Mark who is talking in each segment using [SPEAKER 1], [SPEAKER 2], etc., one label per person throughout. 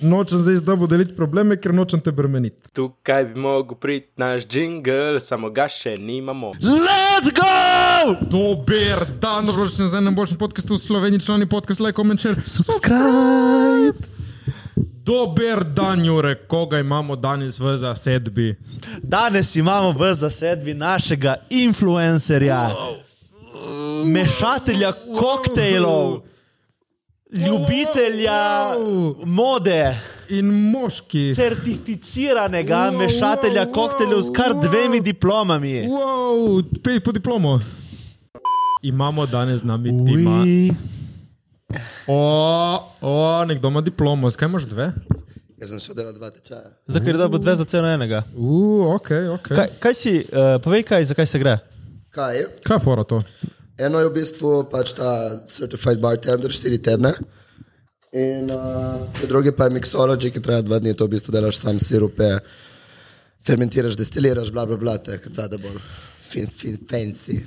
[SPEAKER 1] nočem zdaj z tabo deliti probleme, ker nočem te bremeniti.
[SPEAKER 2] Tukaj bi mogel priti naš jingle, samo ga še nimamo.
[SPEAKER 1] Let's go! Dober dan, dobrodošli na enem boljšem podkastu v Sloveniji, člani podcast Like Comment Share. Subscribe! Dober dan, Jure, koga imamo danes v zasedbi?
[SPEAKER 3] Danes imamo v zasedbi našega influencerja, mešatelja koktejlov, ljubitelja mode,
[SPEAKER 1] In moški.
[SPEAKER 3] certificiranega mešatelja koktejlov s kar dvemi diplomami.
[SPEAKER 1] Wow, pej po diplomo. Imamo danes z nami Dima. O, o, nekdo ima diplomo, skaj imaš dve?
[SPEAKER 4] Jaz sem šel delati dva tečaja.
[SPEAKER 5] Zakaj je dobro dve za ceno enega?
[SPEAKER 1] Uf, ok, ok.
[SPEAKER 5] Kaj, kaj si, uh, povej, kaj, zakaj se gre?
[SPEAKER 4] Kaj je?
[SPEAKER 1] Kaj je fora to?
[SPEAKER 4] Eno je v bistvu pač ta certified bartender, štiri tedne. In uh, drugi pa je mixology, ki traja dva dni, to v bistvu delaš sam sirupe, fermentiraš, destiliraš, bla bla bla, te zade bolj fin, fin, fancy.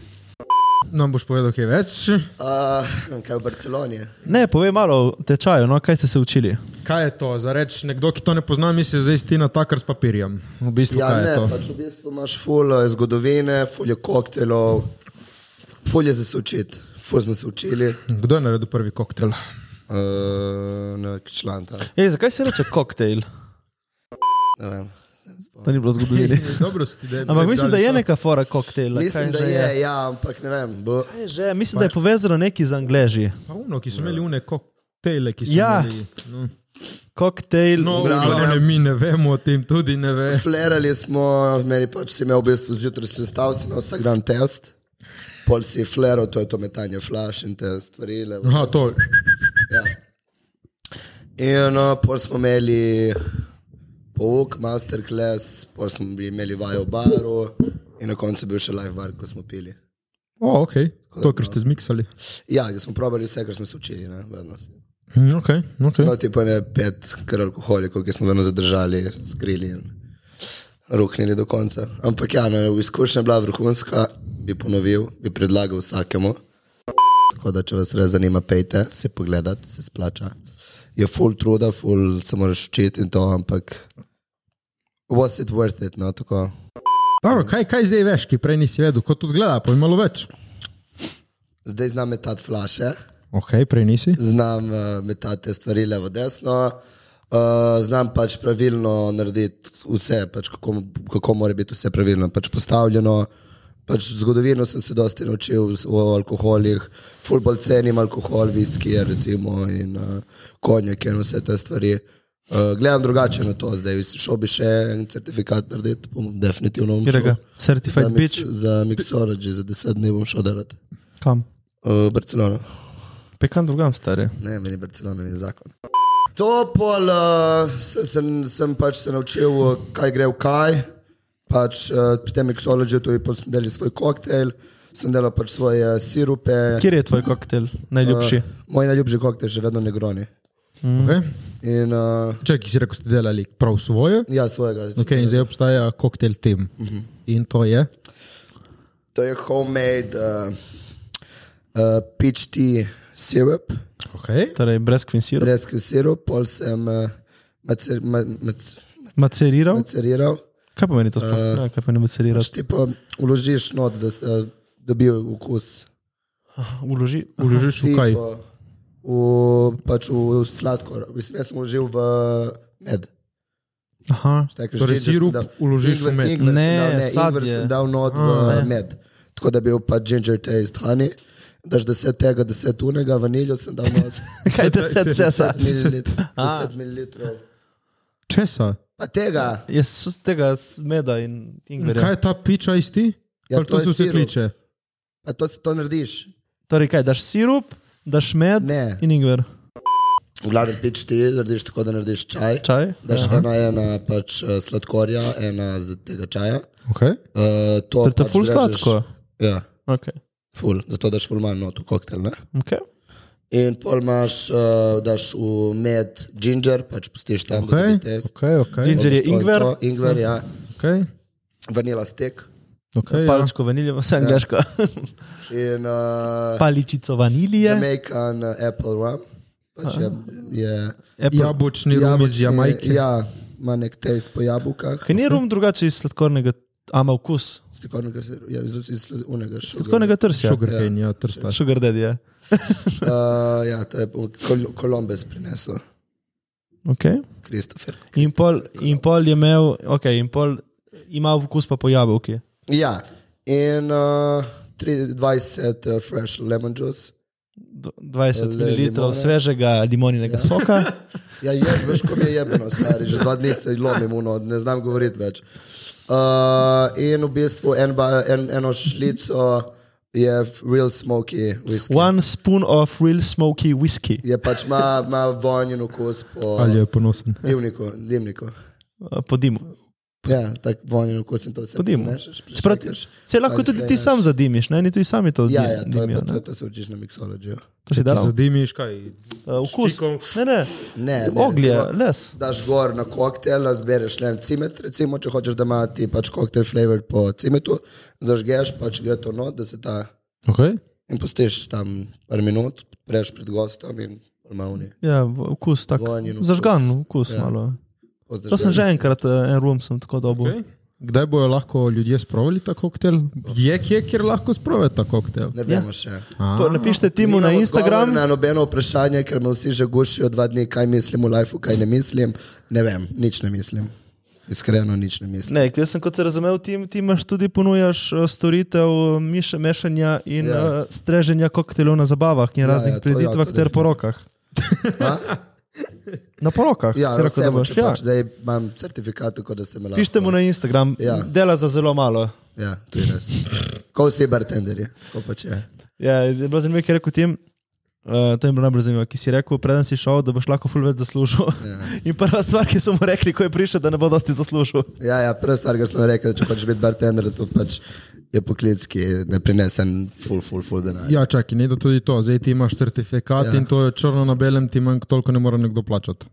[SPEAKER 1] Nam boš povedal kaj več?
[SPEAKER 4] Uh, kaj v Barceloni? je?
[SPEAKER 5] Ne, povej malo o tečaju, no, kaj ste se učili.
[SPEAKER 1] Kaj je to? Za reč, nekdo, ki to ne pozna, misli, da je stina takar s papirjem. V bistvu,
[SPEAKER 4] Ja,
[SPEAKER 1] kaj je
[SPEAKER 4] ne,
[SPEAKER 1] to?
[SPEAKER 4] pač v bistvu imaš ful eh, zgodovine, ful je koktelov, ful je za se učiti, ful smo se učili.
[SPEAKER 1] Kdo je naredil prvi koktejl?
[SPEAKER 4] Uh, nek član tam,
[SPEAKER 5] Ej, zakaj se reče koktejl?
[SPEAKER 4] ne vem.
[SPEAKER 5] To ni bilo zgodovini.
[SPEAKER 1] Dobro si ti, da je.
[SPEAKER 5] Ampak mislim, da je neka fora koktejla.
[SPEAKER 4] Mislim,
[SPEAKER 5] kaj
[SPEAKER 4] da
[SPEAKER 5] že
[SPEAKER 4] je, ja, ampak ne vem. Bo,
[SPEAKER 5] Kaj Že, mislim, da je povezano neki z angleži.
[SPEAKER 1] Pa uno, ki so imeli une koktejle, ki so
[SPEAKER 5] Ja.
[SPEAKER 1] imeli. No,
[SPEAKER 5] Koktejl.
[SPEAKER 1] no
[SPEAKER 4] glavnem.
[SPEAKER 1] glavne, mi ne vemo o tem, tudi ne ve.
[SPEAKER 4] Flerali smo, meni pač si imel v bistvu zjutraj sestavljen, si imel vsak dan test, pol si flero, to je to metanje flash in te stvari. levo,
[SPEAKER 1] Aha, No, to.
[SPEAKER 4] Ja. In uh, pol smo imeli pouk, masterclass, pol smo bili- imeli vajo v baru in na koncu je bil še live bar, ko smo pili.
[SPEAKER 1] O, ok. To, kar ste zmiksali.
[SPEAKER 4] Ja, ker smo probali vse, kar smo se učili. Ne, vedno.
[SPEAKER 1] Mm, Ok, ok.
[SPEAKER 4] no, ti pa ne pet, kar alkoholikov, ki smo vedno zadržali, skrili in roknili do konca. Ampak ja, no, izkušnja je bila vrhunska, bi ponovil, bi predlagal vsakemu. Tako da, če vas res zanima, pejte, se pogledate, se splača. Je full truda, full se moraš učiti in to, ampak was it worth it, no tako.
[SPEAKER 1] Dobro, kaj, kaj zdaj veš, ki prej nisi vedel, kot to zgleda, pa je malo več.
[SPEAKER 4] Zdaj znam metati flaše.
[SPEAKER 1] Ok, prej nisi.
[SPEAKER 4] znam eh, metati te stvari levo, desno, eh, znam pač pravilno narediti vse, pač kako, kako mora biti vse pravilno pač postavljeno. Pač zgodovino sem se dosti naučil s- o alkoholih, fulbol cenim alkohol, viskije recimo in uh, konjak in vse te stvari. Uh, gledam drugače na to, zdaj šel bi še en certifikat narediti, bom definitivno bom
[SPEAKER 5] Katerega? Certified
[SPEAKER 4] za,
[SPEAKER 5] bitch?
[SPEAKER 4] za Mixology, za deset dni bom šel delati.
[SPEAKER 5] Kam?
[SPEAKER 4] Uh, Barcelona.
[SPEAKER 5] Pekam drugam, stari.
[SPEAKER 4] Ne, meni Barcelona je zakon. To pol uh, se, sem, sem pač se naučil, eh, kaj gre v kaj. Pač uh, pri tem mixologiju tudi pol sem delal svoj koktejl, sem delal pač svoje sirupe.
[SPEAKER 5] Kjer je tvoj koktejl najljubši?
[SPEAKER 4] Eh, moj najljubši koktejl še vedno negroni.
[SPEAKER 1] Okay.
[SPEAKER 4] In uh,
[SPEAKER 1] Če si rekel, ste delali prav svoje,
[SPEAKER 4] ja, svojega.
[SPEAKER 1] okay, in zdaj obstaja koktejl tem. In to je.
[SPEAKER 4] To je homemade uh, uh, peach tea sirup,
[SPEAKER 1] Okay.
[SPEAKER 5] Torej, brez kvinsira.
[SPEAKER 4] brez sirup, pol sem uh, macer, ma, mac,
[SPEAKER 5] Maceriral.
[SPEAKER 4] maceriral.
[SPEAKER 5] Kaj pomeni to sploh?
[SPEAKER 4] Eh,
[SPEAKER 5] Ne, Kaj pomeni maceriral?
[SPEAKER 4] Pač ti pa vložiš not, da s- da dobijo okus.
[SPEAKER 5] Uloži.
[SPEAKER 1] Uložiš v
[SPEAKER 4] Ti
[SPEAKER 1] kaj?
[SPEAKER 4] pa V, pač v sladkor. Mislim, jaz sem vložil v med.
[SPEAKER 5] Aha.
[SPEAKER 4] Tako,
[SPEAKER 1] Torej, sirup vložiš v med. Ah.
[SPEAKER 4] Ingver
[SPEAKER 5] Ne,
[SPEAKER 4] sem dal, ne, ingver
[SPEAKER 5] sadje.
[SPEAKER 4] sem dal not v med. Tako da bi bil pač ginger taste, honey. Daš deset tega, deset unega, vaniljo sem dal not.
[SPEAKER 5] Kaj deset česa?
[SPEAKER 4] 10 mililitrov. 10 mililitrov.
[SPEAKER 1] Česa?
[SPEAKER 4] Pa tega.
[SPEAKER 5] Jaz s tega s- meda in ingverja.
[SPEAKER 1] Kaj je ta piča isti?
[SPEAKER 4] Ja,
[SPEAKER 1] Ja,
[SPEAKER 4] to
[SPEAKER 1] to
[SPEAKER 4] je
[SPEAKER 1] se vse
[SPEAKER 4] sirup.
[SPEAKER 1] kliče.
[SPEAKER 4] A to, to narediš?
[SPEAKER 5] Torej, kaj daš sirup, daš med
[SPEAKER 4] Ne.
[SPEAKER 5] in ingver.
[SPEAKER 4] V glavnem pič ti, narediš tako, da narediš čaj.
[SPEAKER 5] Čaj?
[SPEAKER 4] Daš ena, ena pač eh, sladkorja, ena z tega čaja.
[SPEAKER 1] Okay.
[SPEAKER 4] Uh, to
[SPEAKER 5] Ker Torej, to
[SPEAKER 4] pač
[SPEAKER 5] ful
[SPEAKER 4] zrežeš-
[SPEAKER 5] sladko.
[SPEAKER 4] Ja,
[SPEAKER 5] Okay.
[SPEAKER 4] ful, zato daš ful manj not v koktel. Ne?
[SPEAKER 5] Okay.
[SPEAKER 4] In pol imaš, uh, daš v med ginger, pač pustiš tam, da
[SPEAKER 1] Okay.
[SPEAKER 4] dobi test.
[SPEAKER 1] Okay, okay.
[SPEAKER 5] Ginger je
[SPEAKER 4] Pol daš to in
[SPEAKER 5] ingver.
[SPEAKER 4] to, Ingver, ja.
[SPEAKER 1] Okay.
[SPEAKER 4] Vanila stek.
[SPEAKER 1] Okay, ja.
[SPEAKER 5] Palčko vanilje, vse angliško.
[SPEAKER 4] In uh,
[SPEAKER 5] Paličico vanilije.
[SPEAKER 4] Jamaican uh, apple rum. Pač je, je
[SPEAKER 5] Apple.
[SPEAKER 4] Ja.
[SPEAKER 1] Jabočni rum iz
[SPEAKER 4] jabolčni-
[SPEAKER 1] Jamajke.
[SPEAKER 4] Ja, ima nek test po jabolkah.
[SPEAKER 5] Ker ni rum drugače iz sladkornega, ama okus.
[SPEAKER 4] Sladkornega, se- ja, iz, iz, iz unega.
[SPEAKER 5] Sladkornega trsja.
[SPEAKER 1] Sugarcane, ja, trsta.
[SPEAKER 5] Sugar daddy, ja.
[SPEAKER 4] Uh, ja, to je Kol Kolombes prinesel,
[SPEAKER 5] Okay.
[SPEAKER 4] Kristofer.
[SPEAKER 5] In, pol, in pol je imel, okay, in pol ima okus pa po jabolki.
[SPEAKER 4] Ja, in uh, 23 uh, fresh lemon juice.
[SPEAKER 5] Do- 20
[SPEAKER 4] Le
[SPEAKER 5] ml
[SPEAKER 4] limone.
[SPEAKER 5] svežega limoninega ja. soka.
[SPEAKER 4] Ja, je, veš, ko mi je jebeno, stari, že dva dni se lomim, uno, ne znam govoriti več. Uh, in v bistvu en ba, en, eno šlico je f- real smoky whisky.
[SPEAKER 5] One spoon of real smoky whisky.
[SPEAKER 4] Je pač ima ma vonjen okus po
[SPEAKER 1] Ali je ponosen.
[SPEAKER 4] dimniku. dimniku.
[SPEAKER 5] eh, Po dimu.
[SPEAKER 4] Ja, tako vonjen okus in to vse
[SPEAKER 5] Po dimu.
[SPEAKER 4] zmešaš,
[SPEAKER 5] Čeprav,
[SPEAKER 4] prešekaš,
[SPEAKER 5] se lahko
[SPEAKER 4] ali
[SPEAKER 5] tudi ti
[SPEAKER 4] sprejmeš.
[SPEAKER 5] sam zadimiš, ne? ni tudi sami to
[SPEAKER 4] Ja,
[SPEAKER 5] dim-
[SPEAKER 4] ja, to, je,
[SPEAKER 5] dimijo.
[SPEAKER 4] pa- to,
[SPEAKER 5] ne?
[SPEAKER 4] to se učiš na miksologiju.
[SPEAKER 5] To si
[SPEAKER 1] Ti
[SPEAKER 5] dal.
[SPEAKER 1] zadimiš kaj?
[SPEAKER 5] Uh, okus.
[SPEAKER 1] štikom.
[SPEAKER 5] Ne, ne.
[SPEAKER 4] Ne, ne,
[SPEAKER 5] Oglje,
[SPEAKER 4] recimo,
[SPEAKER 5] les.
[SPEAKER 4] Daš gor na koktajl, a zbereš le en cimet, recimo, če hočeš, da ima ti pač koktajl flavor po cimetu, zažgeš pač gre to not, da se ta
[SPEAKER 1] Okay.
[SPEAKER 4] in postiš tam par minut, preš pred gostom in normalni.
[SPEAKER 5] Ja, v- okus tak.
[SPEAKER 4] Vonjen okus.
[SPEAKER 5] Zažgan okus ja. malo. To sem že enkrat, eh, en rum sem tako dobil.
[SPEAKER 1] Okay. Kdaj bojo lahko ljudje sprovali ta koktel? Je kje, kjer lahko sprovajo ta koktel?
[SPEAKER 4] Ne vemo ja. še.
[SPEAKER 5] To napišite Timu na
[SPEAKER 4] Nimam
[SPEAKER 5] Instagram.
[SPEAKER 4] odgovora Na nobeno vprašanje, ker me vsi že gušijo dva dni, kaj mislim v lifeu, kaj ne mislim. Ne vem, nič ne mislim. Iskreno, nič ne mislim.
[SPEAKER 5] Ne, jaz sem kot se razumel, ti, ti imaš tudi ponujaš eh, storitev eh, miš, mešanja in
[SPEAKER 4] Ja.
[SPEAKER 5] ja. streženja koktejlov na zabavah in
[SPEAKER 4] Ja,
[SPEAKER 5] raznih ja,
[SPEAKER 4] ja, to ja,
[SPEAKER 5] preditvah
[SPEAKER 4] to
[SPEAKER 5] ter
[SPEAKER 4] definitivno.
[SPEAKER 5] porokah.
[SPEAKER 4] A?
[SPEAKER 5] Na porokah,
[SPEAKER 4] Ja,
[SPEAKER 5] si rekel, da
[SPEAKER 4] vseeno,
[SPEAKER 5] boš.
[SPEAKER 4] če
[SPEAKER 5] Ja.
[SPEAKER 4] pač, zdaj imam certifikat, tako da ste me lahko.
[SPEAKER 5] Pišite mu na Instagram, ja.
[SPEAKER 4] Ja.
[SPEAKER 5] dela za zelo malo.
[SPEAKER 4] Ja, to je res. Ko vsi bartenderji, ko pač je.
[SPEAKER 5] Ja, je bilo zanimivo, ker je rekel tim. Uh, to je bilo najbolj zanimivo, ki si rekel, preden si šel, da boš lahko ful več zaslužil. Ja. In prva stvar, ki so mu rekli, ko je prišel, da ne bo dosti zaslužil.
[SPEAKER 4] Ja, ja, prva stvar, ki sem rekel, če hočeš biti bartender, to pač je poklic, ki ne prinese en full, full, full denar.
[SPEAKER 1] Ja, čakaj, ne da tudi to. Zdaj ti imaš certifikat ja.
[SPEAKER 4] Ja.
[SPEAKER 1] in to je črno na belem, ti manj toliko ne more nekdo plačati.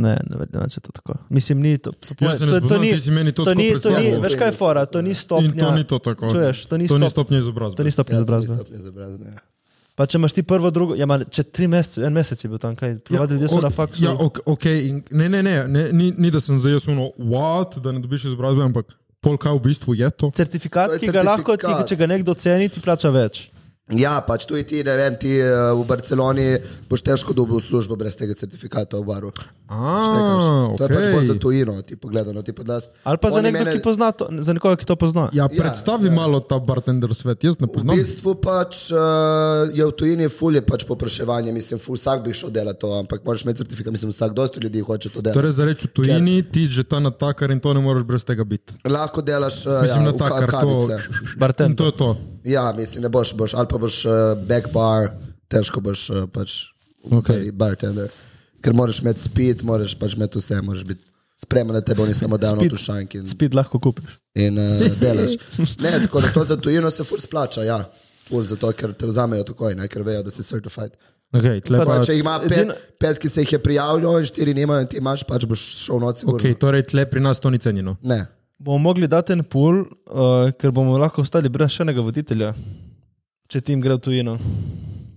[SPEAKER 5] Ne, ne verjamem, če je to tako. Mislim, ni to. To,
[SPEAKER 1] Jaz se ne
[SPEAKER 5] to, to
[SPEAKER 1] spoznam,
[SPEAKER 5] ni,
[SPEAKER 1] ti si meni to
[SPEAKER 5] to
[SPEAKER 1] tako
[SPEAKER 5] ni, to ni,
[SPEAKER 1] predstavljal. Ja.
[SPEAKER 5] veš kaj je fora, to ni stopnja.
[SPEAKER 1] In to ni to tako.
[SPEAKER 5] Čuješ, to ni
[SPEAKER 1] to ni
[SPEAKER 5] stopnja.
[SPEAKER 1] stopnja izobrazbe.
[SPEAKER 5] To ni
[SPEAKER 4] Ja,
[SPEAKER 5] stopnja Ja, izobrazbe.
[SPEAKER 4] Stopnje izobrazbe, ja.
[SPEAKER 5] Pa če imaš ti prvo, drugo, ja, ma, če tri mesece, en mesec je bil tam, kaj, prijavljali ljudje so na faksu.
[SPEAKER 1] Ja, ok, okay in, ne, ne, ne, ne ni, ni da sem zdaj jaz uno, what, da ne dobiš izobrazbe, ampak polka v bistvu je to.
[SPEAKER 5] Certifikat,
[SPEAKER 4] To je
[SPEAKER 5] ki ga lahko, ti,
[SPEAKER 4] certifikat.
[SPEAKER 5] če ga nekdo ceni, ti plača več.
[SPEAKER 4] Ja, pač tudi ti, ne vem, ti eh, v Barceloni boš težko dobil službo brez tega certifikata v baru.
[SPEAKER 1] A,
[SPEAKER 4] To je pač bolj za
[SPEAKER 1] okay.
[SPEAKER 4] tujino, ti pogledano, ti pa daš.
[SPEAKER 5] Ali pa za
[SPEAKER 4] Oni
[SPEAKER 5] nekoga,
[SPEAKER 4] mene-
[SPEAKER 5] ki pozna to, za nekoga, ki to pozna.
[SPEAKER 1] Ja,
[SPEAKER 4] Ja,
[SPEAKER 1] predstavi ja. malo ta bartender svet, jaz ne
[SPEAKER 5] No.
[SPEAKER 4] V
[SPEAKER 1] poznam.
[SPEAKER 4] bistvu pač uh, je v tujini fulje pač popraševanje, mislim, ful vsak bi šel delati to, ampak moraš imeti certifikat, mislim, vsak dosti ljudi hoče to delati.
[SPEAKER 1] Torej, za reči v tujini, ti že ta natakar in to ne moreš brez tega biti.
[SPEAKER 4] Lahko delaš uh,
[SPEAKER 1] Mislim,
[SPEAKER 4] ja,
[SPEAKER 1] ja,
[SPEAKER 4] v ka
[SPEAKER 1] natakar, to,
[SPEAKER 4] kavice.
[SPEAKER 1] in
[SPEAKER 5] Bartender.
[SPEAKER 1] to je to.
[SPEAKER 4] Ja, mislim, ne boš, boš ali pa boš uh, back bar, težko boš uh, pač
[SPEAKER 1] Okej.
[SPEAKER 4] okay. bartender. Ker moraš imeti spit, moraš pač imeti vse, moraš biti spremljen, da te bo ni samo dan od ušank in,
[SPEAKER 5] Spid lahko kupiš.
[SPEAKER 4] in uh, delaš. Ne, tako da to za tujino se ful splača, ja. Ful zato, ker te vzamejo takoj, ne, ker vejo, da si certified.
[SPEAKER 1] Okay, tle
[SPEAKER 4] Pa,
[SPEAKER 1] pa,
[SPEAKER 4] če jih ima pet,
[SPEAKER 5] edino-
[SPEAKER 4] edino... pet, ki se jih je prijavilo, in štiri nimajo, in ti imaš, pač boš šel noč.
[SPEAKER 1] okay, torej, tle pri nas to ni cenjeno.
[SPEAKER 4] Ne.
[SPEAKER 5] Bomo mogli dati en pul, uh, ker bomo lahko ostali brez še enega voditelja, če tim gre v tujino.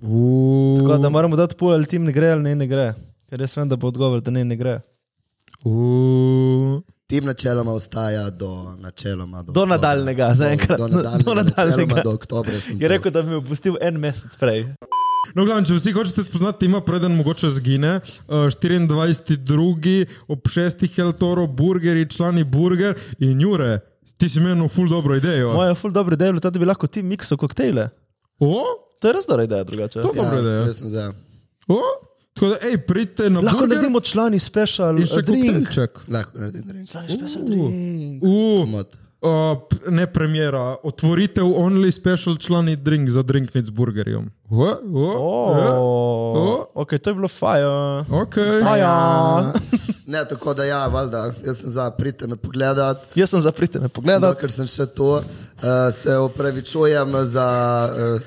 [SPEAKER 1] Uuu.
[SPEAKER 5] Tako da moramo dati pul, ali tim ne gre ali ne, ne gre. Ker jaz vem, da bo odgovor, da ne, ne gre.
[SPEAKER 1] Uuu.
[SPEAKER 4] Tim načeloma ostaja do, načeloma do,
[SPEAKER 5] Do
[SPEAKER 4] oktobra.
[SPEAKER 5] nadaljnjega, zaenkrat.
[SPEAKER 4] Do, do nadaljnega,
[SPEAKER 5] Do nadaljnjega.
[SPEAKER 4] načeloma do oktobra. sem
[SPEAKER 5] Je
[SPEAKER 4] to.
[SPEAKER 5] rekel, da bi me opustil en mesec prej.
[SPEAKER 1] No, glavno, če vsi hočete spoznati, ima preden mogoče zgine. eh, 24.2. ob 6. El Toro, burgeri, člani burger in Jure. Ti si meni ful dobro idejo.
[SPEAKER 5] Moje ful dobro delo, da bi lahko ti miksal koktejle.
[SPEAKER 1] O,
[SPEAKER 5] To je res dobra ideja drugače.
[SPEAKER 1] to je dobro idejo.
[SPEAKER 4] Ja, jaz sem za.
[SPEAKER 1] O, tako da, hej, pridite na
[SPEAKER 5] Lahko
[SPEAKER 1] burger
[SPEAKER 5] naredimo člani special eh,
[SPEAKER 1] in še
[SPEAKER 5] drink.
[SPEAKER 1] koktejlček.
[SPEAKER 4] Lahko naredim drink.
[SPEAKER 1] U,
[SPEAKER 4] Mod.
[SPEAKER 1] Uh, ne premjera, otvoritev only special člani drink za drinknic z burgerjem. Ja. O, o,
[SPEAKER 5] Oh, ok, to je bilo fajn.
[SPEAKER 1] ja, okay.
[SPEAKER 5] Fajn.
[SPEAKER 4] Ne, tako da ja, valjda, jaz sem za, pridite me pogledat.
[SPEAKER 5] Jaz sem zaprite me
[SPEAKER 4] No,
[SPEAKER 5] pogledal.
[SPEAKER 4] eh, ker sem še to, uh, se opravičujem za uh,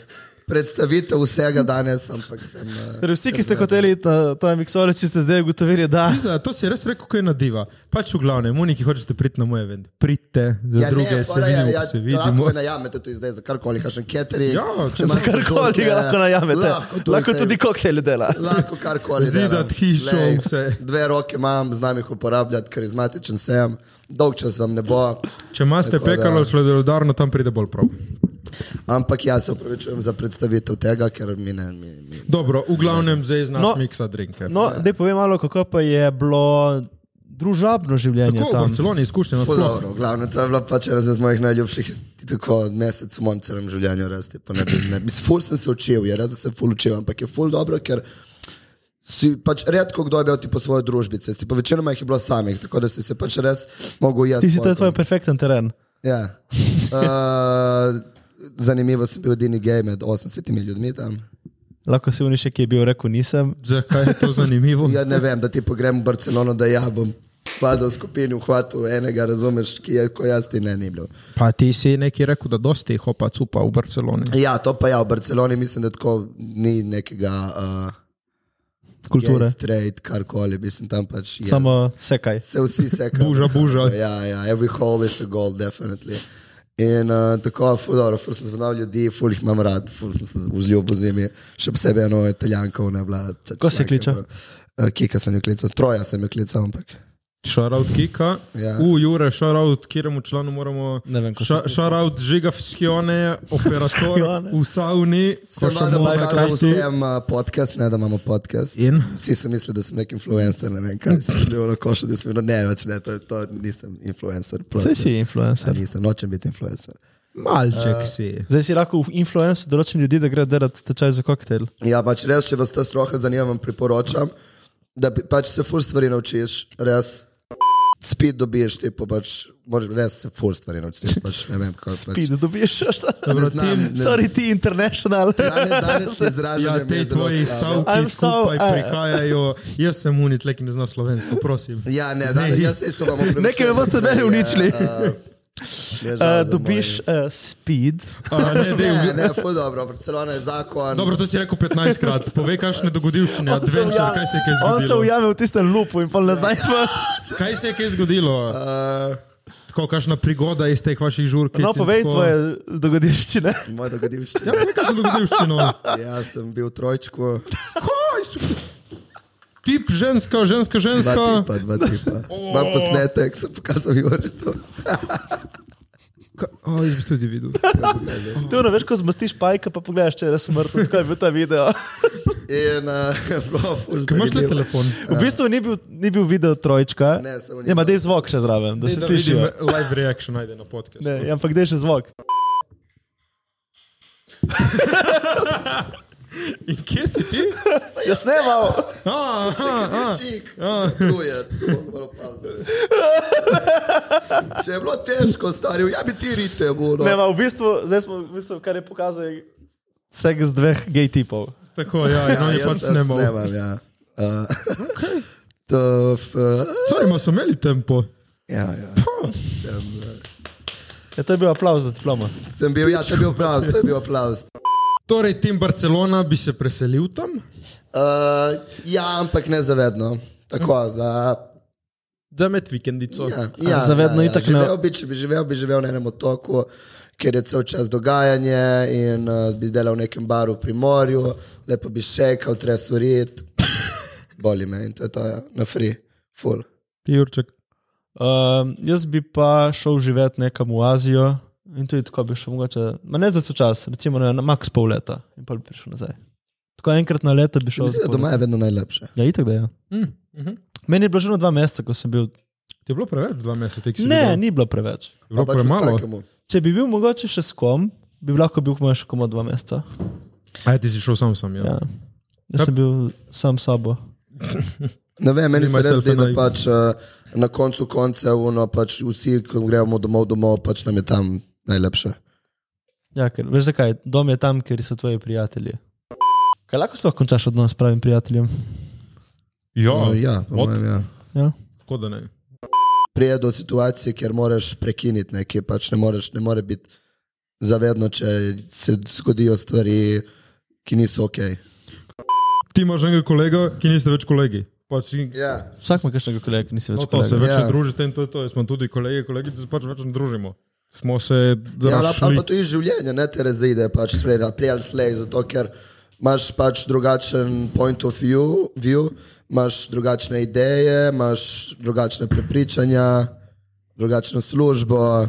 [SPEAKER 4] predstavitev vsega danes, ampak sem. eh,
[SPEAKER 5] Torej, vsi, ki ste hoteli iti na ta miksoloč, ste zdaj ugotovili, da
[SPEAKER 1] Pizda, eh, To si res rekel, kaj je na diva. Pač v glavnem, oni, ki hočete priti na moj event, pridite, za ja, druge ne, se
[SPEAKER 4] fora je,
[SPEAKER 1] vidimo, ja,
[SPEAKER 4] ja,
[SPEAKER 1] se
[SPEAKER 4] Lahko
[SPEAKER 1] vidimo.
[SPEAKER 4] me najamete tudi zdaj za karkoli, kakšen catering.
[SPEAKER 1] Ja, za
[SPEAKER 4] če imate
[SPEAKER 5] karkoli
[SPEAKER 4] žurke,
[SPEAKER 5] ga lahko najamete. Lahko tudi, lahko tudi koktejle dela.
[SPEAKER 4] Lahko karkoli.
[SPEAKER 1] Zidat
[SPEAKER 4] delam.
[SPEAKER 1] hišo,
[SPEAKER 4] Glej,
[SPEAKER 1] vse.
[SPEAKER 4] Dve roke imam, znam jih uporabljati, karizmatičen sem, dolg čas vam ne bo.
[SPEAKER 1] Če imate
[SPEAKER 4] Tako da-
[SPEAKER 1] pekalo, sledodarno, tam pride bolj prav.
[SPEAKER 4] Ampak jaz se upravičujem za predstavitev tega, ker mi ne. Mi, mi.
[SPEAKER 1] Dobro, v glavnem, zdaj znaš no,
[SPEAKER 5] No.
[SPEAKER 1] miksa drinke.
[SPEAKER 5] No, da povem malo, kako pa je bilo družabno življenje
[SPEAKER 1] Tako v
[SPEAKER 5] tam.
[SPEAKER 1] Barceloni izkušnje
[SPEAKER 4] Ful
[SPEAKER 1] nasploh.
[SPEAKER 4] Dobro, glavno, to je bila pač ena izmed mojih najljubših iz- tako, mesec v mojem celem življenju. Res, tipo, ne, bi- ne, mislim, ful sem se učil, je res, da sem ful učil, ampak je ful dobro, ker si pač redko kdo je bil po svoje družbice, si pa večinoma jih je bilo samih, tako da si se pač res mogel jaz.
[SPEAKER 5] Ti si to je
[SPEAKER 4] svojo
[SPEAKER 5] tvoj perfekten teren.
[SPEAKER 4] Ja. Uh, zanimivo sem bil edini gej med 80 ljudmi tam.
[SPEAKER 5] Lahko si unišek, ki je bil rekel, nisem.
[SPEAKER 1] Zakaj je to zanimivo?
[SPEAKER 4] Ja, ne vem, da ti pogrem v Barcelono, da ja bom padel v skupini, uhvatil enega, razumeš, ki je kot jaz ti ne ni bil.
[SPEAKER 1] Pa ti si nekaj rekel, da dosti jih opa cupa v Barceloni.
[SPEAKER 4] Ja, to pa ja, v Barceloni mislim, da tako ni nekega uh,
[SPEAKER 5] Kulture.
[SPEAKER 4] gej, straight, karkoli, mislim tam pač je.
[SPEAKER 5] Samo vse kaj.
[SPEAKER 4] se vsi sekajo.
[SPEAKER 1] Buža, buža.
[SPEAKER 4] Ja, ja, every hole is a goal, definitely. In uh, tako, ful, dobro, ful sem spoznal ljudi, ful jih imam rad, ful sem se vzljubil z njimi, še posebej eno italijanko, ona je bila. ča-
[SPEAKER 5] Ko si
[SPEAKER 4] članka,
[SPEAKER 5] kličal?
[SPEAKER 4] pa, eh, Kika sem jo klical, troja sem jo klical, ampak.
[SPEAKER 1] Šaraut Kika,
[SPEAKER 4] Ja.
[SPEAKER 1] u Jure, šaraut, kjeremu članu moramo.
[SPEAKER 5] Ne vem, ko se-
[SPEAKER 1] Šaraut Žiga Fiskione, operator
[SPEAKER 5] Fiskione.
[SPEAKER 1] v savni,
[SPEAKER 4] Sem vada,
[SPEAKER 1] košamo na
[SPEAKER 4] da
[SPEAKER 1] klasu.
[SPEAKER 4] sem uh, podcast, ne da imamo podcast.
[SPEAKER 1] In?
[SPEAKER 4] Vsi so mislili, da sem nek influencer, ne vem kaj, sem šel na košo, da sem bil, no, ne, več ne, to, to nisem influencer.
[SPEAKER 5] Zdaj si
[SPEAKER 4] Ja,
[SPEAKER 5] influencer.
[SPEAKER 4] nisem, nočem biti influencer.
[SPEAKER 1] Malček si.
[SPEAKER 5] Zdaj si lahko influencer določen ljudi, da grejo delati tečaj za koktejl.
[SPEAKER 4] Ja, pač res, če vas ta stroka zanima, vam priporočam, da bi- pač se ful stvari naučiš, res. Spit dobiš, ti pa pač, moraš res se ful stvari naučiš. Pač, ne vem, kako pač.
[SPEAKER 5] Pide, dobiš še šta.
[SPEAKER 4] Ne znam, ne- Ja,
[SPEAKER 5] Sorry, ti international.
[SPEAKER 4] Danes, danes
[SPEAKER 1] Ja,
[SPEAKER 4] izražam,
[SPEAKER 1] te tvoje
[SPEAKER 5] I'm
[SPEAKER 1] stavke
[SPEAKER 5] so-
[SPEAKER 1] skupaj
[SPEAKER 5] a-
[SPEAKER 1] prihajajo. Jaz sem unit, le ki ne zna slovensko, prosim.
[SPEAKER 4] Ja, ne, danes, jaz se so vam opravičujem.
[SPEAKER 5] Nekaj me boste meni uničili.
[SPEAKER 4] Ja,
[SPEAKER 5] Uh, dobiš uh, speed.
[SPEAKER 1] A, ne, ne,
[SPEAKER 4] Ne, ne, ful dobro, Barcelona je zakon.
[SPEAKER 1] Dobro, to si rekel 15krat. Povej, kakšne dogodivščine, adventure, kaj se je kaj
[SPEAKER 5] on se
[SPEAKER 1] zgodilo.
[SPEAKER 5] ujame v tistem lupu in pa ne znaš.
[SPEAKER 1] Kaj se je kaj zgodilo?
[SPEAKER 4] Uh,
[SPEAKER 1] Tako, kakšna prigoda iz teh vaših žurk.
[SPEAKER 5] No, povej tvoje dogodivščine.
[SPEAKER 4] Moj
[SPEAKER 1] Ja,
[SPEAKER 4] dogodivščina.
[SPEAKER 1] povej, kakšno dogodivščino.
[SPEAKER 5] Ja.
[SPEAKER 4] Jaz Ja, sem bil v trojčku,
[SPEAKER 1] Kaj so? Tip ženska, ženska,
[SPEAKER 4] dva
[SPEAKER 1] ženska.
[SPEAKER 4] tipa, dva tipa. Imam posnetek, sem pokazal Joretu.
[SPEAKER 1] O, jaz bi tudi videl.
[SPEAKER 5] Ti ono veš, ko zmastiš pajka, pa pogledaš, če je res mrtev, tako je bil ta video.
[SPEAKER 4] Ja. In, uh, prav, ful
[SPEAKER 1] Kaj imaš le
[SPEAKER 4] zanimivo.
[SPEAKER 1] telefon?
[SPEAKER 5] V bistvu ni bil, ni bil video trojčka.
[SPEAKER 4] Ne, samo ni
[SPEAKER 5] Ja, ima
[SPEAKER 4] bilo.
[SPEAKER 5] dej zvok še zraven, da se
[SPEAKER 1] Da
[SPEAKER 5] sliši.
[SPEAKER 1] vidim eh, live reaction, najde na podkastu.
[SPEAKER 5] Ne, ja, ampak dej še zvok.
[SPEAKER 1] In kje si ti?
[SPEAKER 5] Jaz ne imam.
[SPEAKER 1] A, a, a.
[SPEAKER 4] Čik,
[SPEAKER 1] Ah.
[SPEAKER 4] truje, samo malo pavze. Če je bilo težko, stari, ja bi ti rite, bolo.
[SPEAKER 5] Ne, ma, v bistvu, zdaj smo, v bistvu, kar je pokazal, je vseh z dveh gej tipov.
[SPEAKER 1] Tako, ja, in on je pač snemal.
[SPEAKER 4] Snemam, ja. Uh, to, f,
[SPEAKER 1] Sorry, ma so imeli tempo.
[SPEAKER 4] ja, ja. Sem, eh,
[SPEAKER 5] Ja, to je bil aplauz za diplomo.
[SPEAKER 4] sem bil, ja, to je bil aplauz, to je bil aplauz.
[SPEAKER 1] Torej, tim Barcelona bi se preselil tam?
[SPEAKER 4] Uh, ja, ampak ne zavedno. Tako, za
[SPEAKER 1] Za med vikendico.
[SPEAKER 4] Ja,
[SPEAKER 5] A
[SPEAKER 4] ja,
[SPEAKER 5] zavedno
[SPEAKER 4] ja, ja.
[SPEAKER 5] itak ne-
[SPEAKER 4] živel bi, če bi živel, bi živel na enem otoku, kjer je cel čas dogajanje in uh, bi delal v nekem baru pri morju, lepo bi šekal, tresel rit, boli me in to je to, ja. na free, full.
[SPEAKER 1] Ti, Jurček.
[SPEAKER 5] Um, jaz bi pa šel živeti nekam v Azijo in tudi tako bi šel, mogoče, ma ne za vse čas, recimo na, na max pol leta in pa bi prišel nazaj. Tako enkrat na leto bi šel.
[SPEAKER 4] Mislim, da
[SPEAKER 5] za pol
[SPEAKER 4] doma je vedno najlepše.
[SPEAKER 5] leta. Ja, itak da je. Ja.
[SPEAKER 1] Mm, mhm.
[SPEAKER 5] Meni je bilo že na dva meseca, ko sem bil.
[SPEAKER 1] Ti je bilo preveč dva meseca? ki si
[SPEAKER 5] Ne,
[SPEAKER 1] bil doma?
[SPEAKER 5] ni bilo preveč.
[SPEAKER 1] Je bilo
[SPEAKER 4] Pa pač
[SPEAKER 1] premalo.
[SPEAKER 4] vsakemu.
[SPEAKER 5] Če bi bil mogoče še s kom, bi lahko bil moj še komo dva meseca.
[SPEAKER 1] Aj, ti si šel sam sam, ja.
[SPEAKER 5] Ja. Jaz sem bil sam s sabo.
[SPEAKER 4] Ne vem, meni
[SPEAKER 1] Be
[SPEAKER 4] se res
[SPEAKER 1] myself
[SPEAKER 4] zdi,
[SPEAKER 1] and
[SPEAKER 4] da
[SPEAKER 1] I.
[SPEAKER 4] pač uh, na koncu koncev, no, pač vsi, ko gremo domov, domov, pač nam je tam najlepše.
[SPEAKER 5] Ja, ker veš zakaj? Dom je tam, kjer so tvoji prijatelji. Kaj lahko sploh končaš odnos s pravim prijateljem?
[SPEAKER 4] No, ja, po
[SPEAKER 1] od-
[SPEAKER 4] mojem, ja.
[SPEAKER 5] Ja.
[SPEAKER 1] Tako da ne.
[SPEAKER 4] prije do situacije, kjer moraš prekiniti nekaj, pač ne moreš, ne more biti zavedno, če se zgodijo stvari, ki niso ok.
[SPEAKER 1] Ti imaš enega kolega, ki niste več kolegi. Pač, ja,
[SPEAKER 4] Ja.
[SPEAKER 5] Vsak ima kakšnega kolega, ki nisi več
[SPEAKER 1] no, to se
[SPEAKER 5] kolega.
[SPEAKER 1] več
[SPEAKER 4] Ja.
[SPEAKER 1] ja. družite in to je to. Jaz smo tudi kolegi, kolegi se pač več ne družimo. Smo se
[SPEAKER 4] Ja, ali pa- ali
[SPEAKER 1] dražili.
[SPEAKER 4] pa to iz življenja, ne te razide, pač sprejela, prej ali slej, zato ker imaš pač drugačen point of view, view, imaš drugačne ideje, imaš drugačne prepričanja, drugačno službo.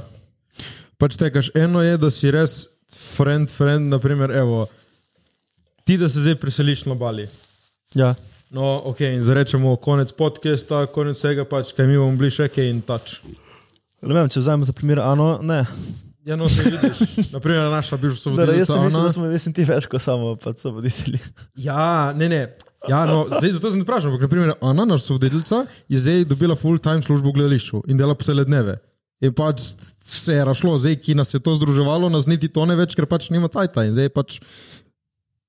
[SPEAKER 1] Pač tekaš, eno je, da si res friend, friend, naprimer, evo, ti da se zdaj preseliš na Bali.
[SPEAKER 5] Ja.
[SPEAKER 1] No, ok, in zdaj rečemo konec podcasta, konec vsega, pač kaj mi bomo bili še kaj in pač. tač.
[SPEAKER 5] Ne vem, če vzamem za primer Ano, ne.
[SPEAKER 1] Ja, no, se vidiš, naprimer naša bivša
[SPEAKER 5] Da,
[SPEAKER 1] sovodnica
[SPEAKER 5] jaz sem mislil,
[SPEAKER 1] Ana.
[SPEAKER 5] da smo jaz in ti več kot samo pač sovoditelji.
[SPEAKER 1] Ja, ne, ne. Ja, no, zdaj, zato sem vprašal, ampak naprimer, Ana, naš sovoditeljica, je zdaj dobila full-time službo v gledališču in dela cele dneve. In pač se je rašlo, zdaj, ki nas je to združevalo, nas niti to ne več, ker pač nima tajta. In zdaj pač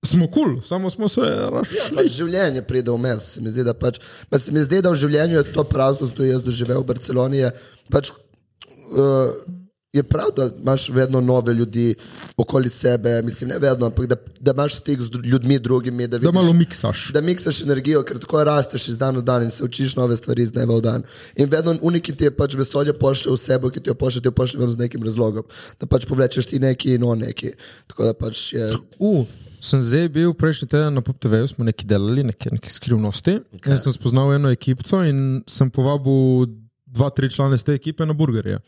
[SPEAKER 1] smo kul, cool, samo smo se rašli.
[SPEAKER 4] Pač življenje pride vmes. Se mi zdi, da, pač, pa se mi zdi, da v življenju je to praznost, ki jo jaz doživel v Barceloni. Je, pač, uh, je prav, da imaš vedno nove ljudi okoli sebe, mislim, ne vedno, ampak da, da imaš stik z dru- ljudmi drugimi.
[SPEAKER 1] Da
[SPEAKER 4] Da,
[SPEAKER 5] Ja,
[SPEAKER 4] vidiš-
[SPEAKER 1] malo miksaš.
[SPEAKER 4] da miksaš energijo, ker tako rasteš iz dneva v dan in se učiš nove stvari iz dneva v dan. In vedno unik ti je pač vesolje pošlje v sebe, ki ti jo pošlje, ti jo pošlje vedno z nekim razlogom, da pač povlečeš ti neki in on neki. Tako da pač je
[SPEAKER 1] U, sem zdaj bil prejšnji teden na PopTV-ju, smo nekaj delali, neke, neke skrivnosti. Okay. Sem spoznal eno ekipo in sem povabil dva, tri člane iz te ekipe na burgerje.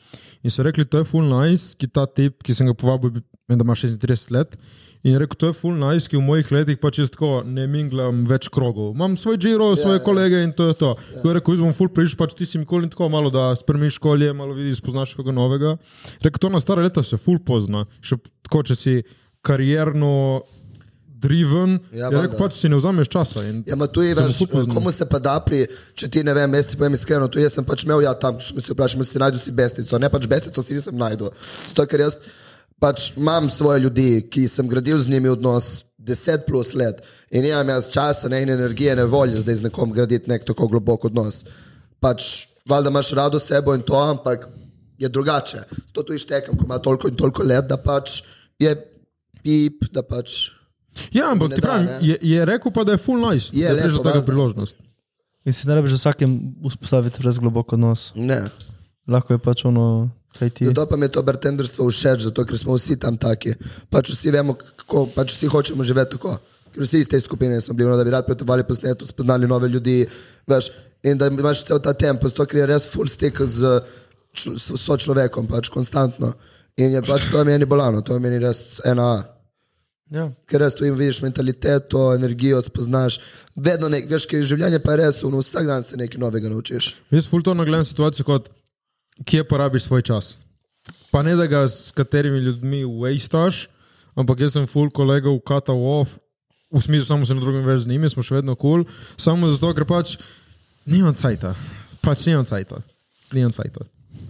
[SPEAKER 1] In so rekli, to je full nice, ki ta tip, ki sem ga povabil, vem, da ima 36 let. In je rekel, to je full nice, ki v mojih letih pač jaz tako ne minglam več krogov. Imam svoj giro, yeah, svoje yeah. kolege in to je to. Yeah. Ko je rekel, jaz bom full prišel, pač ti si nikoli ni tako malo, da spremiš kolje, malo vidiš, spoznaš kaj novega. Rekel, to na stare leta se full pozna. Še tako, če si karierno driven,
[SPEAKER 4] Ja,
[SPEAKER 1] ja, je rekel,
[SPEAKER 4] valjda.
[SPEAKER 1] pač si ne vzameš časa. in
[SPEAKER 4] Ja, ma tu je
[SPEAKER 1] se mu
[SPEAKER 4] veš,
[SPEAKER 1] ful pozna.
[SPEAKER 4] komu se pa da pri, če ti ne vem, jaz ti povem iskreno, tu jaz sem pač imel, ja, tam sem se vprašal, si najdel si bestnico, ne pač bestnico si nisem najdel. Zato, ker jaz pač imam svoje ljudi, ki sem gradil z njimi odnos 10 plus let in nimam jaz časa, ne in energije, ne volje zdaj z nekom graditi nek tako globok odnos. Pač, valjda imaš rado sebo in to, ampak je drugače. To tu ištekam, ko ima toliko in toliko let, da pač je pip, da pač.
[SPEAKER 1] Ja, ampak
[SPEAKER 4] Ne
[SPEAKER 1] ti
[SPEAKER 4] da,
[SPEAKER 1] pravim,
[SPEAKER 4] ne.
[SPEAKER 1] je, je rekel pa, da je full nice,
[SPEAKER 4] Je,
[SPEAKER 1] je, da je
[SPEAKER 4] lepo,
[SPEAKER 1] prišla taka
[SPEAKER 4] valjda.
[SPEAKER 1] priložnost.
[SPEAKER 5] In si ne rabiš z vsakim vzpostaviti res globoko nos.
[SPEAKER 4] Ne.
[SPEAKER 5] Lahko je pač ono, kaj ti je.
[SPEAKER 4] Zato pa mi je to bartenderstvo všeč, zato ker smo vsi tam taki. Pač vsi vemo, kako pač vsi hočemo živeti tako. Ker vsi iz te skupine smo bili, no, da bi radi potovali po svetu, spoznali nove ljudi. Veš, in da imaš cel ta tempo, zato ker je res full stik z čl- s sočlovekom, pač konstantno. In je pač to meni bolano, to meni res ena. A
[SPEAKER 5] Ja.
[SPEAKER 4] ker res tu jim vidiš mentaliteto, energijo, spoznaš. Vedno nek, veš, ker življenje pa je res, ono, vsak dan se nekaj novega naučiš.
[SPEAKER 1] Jaz full to nagledam situacijo kot, kje porabiš svoj čas. Pa ne da ga s katerimi ljudmi wasteš, ampak jaz sem full kolegov cutal off, v smislu samo se na drugem več z njimi, smo še vedno kul, cool, samo zato, ker pač nimam cajta, pač nimam cajta, nimam cajta.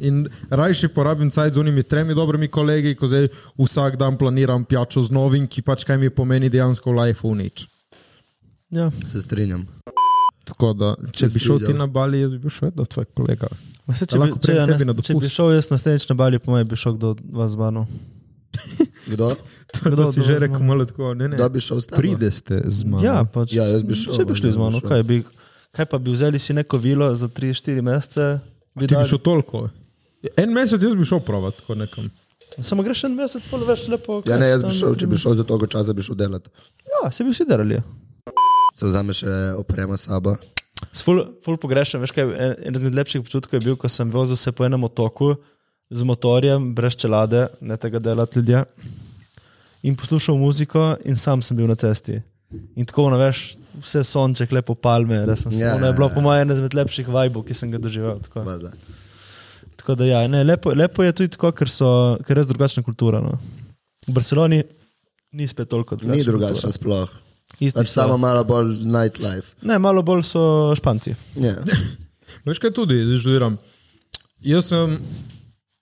[SPEAKER 1] In rajši porabim cajt z unimi tremi dobrimi kolegi, ko zdaj vsak dan planiram pijačo z novim, ki pač kaj mi pomeni dejansko v lifeu nič.
[SPEAKER 5] ja.
[SPEAKER 4] Se strinjam.
[SPEAKER 1] Tako da, če bi šel ti
[SPEAKER 4] Čestitam.
[SPEAKER 1] na bali, jaz bi bil še vedno tvoj kolega.
[SPEAKER 5] Ma Se, če, bi,
[SPEAKER 1] Lahko
[SPEAKER 5] če,
[SPEAKER 1] pridem
[SPEAKER 5] ja,
[SPEAKER 1] tebi
[SPEAKER 5] nas,
[SPEAKER 1] na
[SPEAKER 5] če bi
[SPEAKER 1] dopust.
[SPEAKER 5] šel jaz naslednjič na Bali, po mojem bi šel kdo od vas banil.
[SPEAKER 4] Kdo?
[SPEAKER 1] To
[SPEAKER 5] Kdo
[SPEAKER 1] si
[SPEAKER 5] od
[SPEAKER 1] že
[SPEAKER 5] vas
[SPEAKER 1] rekel,
[SPEAKER 5] banil?
[SPEAKER 1] malo tako. Ne, ne.
[SPEAKER 4] Kdo bi šel s tabo?
[SPEAKER 1] Pride ste z mano.
[SPEAKER 5] Ja, pač.
[SPEAKER 4] Ja, jaz bi šel,
[SPEAKER 5] Vse bi šli
[SPEAKER 4] jaz
[SPEAKER 5] z
[SPEAKER 4] bi
[SPEAKER 5] mano.
[SPEAKER 4] šel.
[SPEAKER 5] Kaj, bi, kaj pa bi vzeli si neko vilo za 3-4 mesece? bi
[SPEAKER 1] ti bi
[SPEAKER 5] dali-
[SPEAKER 1] šel toliko. En mesec jaz bi šel provat, tako nekam.
[SPEAKER 5] Samo greš en mesec, pol veš lepo.
[SPEAKER 4] Ja,
[SPEAKER 5] kaj
[SPEAKER 4] ne,
[SPEAKER 5] si
[SPEAKER 4] jaz bi
[SPEAKER 5] tam
[SPEAKER 4] šel, če bi
[SPEAKER 5] naredil.
[SPEAKER 4] šel za toliko časa, bi šel delati.
[SPEAKER 5] Ja, se bi vsi delali.
[SPEAKER 4] Se vzameš še oprema s sabo.
[SPEAKER 5] S Ful, ful pogrešam, veš kaj, en en izmed lepših občutkov je bil, ko sem vozil se po enem otoku z motorjem, brez čelade, ne tega delati ljudje. In poslušal muziko, in sam sem bil na cesti. In tako, no, veš, vse sonček, lepo palme, res sem se.
[SPEAKER 4] Ja,
[SPEAKER 5] Yeah. Ono je
[SPEAKER 4] ja,
[SPEAKER 5] bilo
[SPEAKER 4] ja.
[SPEAKER 5] po mojem ena izmed lepših vibov, ki sem ga doživel. Tako,
[SPEAKER 4] Valjda.
[SPEAKER 5] tako da, ja, ne, lepo, lepo je tudi tako, ker, so, ker je res drugačna kultura. No. V Barceloni ni spet toliko drugačna.
[SPEAKER 4] Ni drugačno
[SPEAKER 5] kultura.
[SPEAKER 4] sploh.
[SPEAKER 5] Isti
[SPEAKER 4] Pač
[SPEAKER 5] so.
[SPEAKER 4] samo malo bolj nightlife.
[SPEAKER 5] Ne, malo bolj so Španci.
[SPEAKER 4] Ja.
[SPEAKER 1] Veš kaj tudi, zdaj študiram. Jaz sem,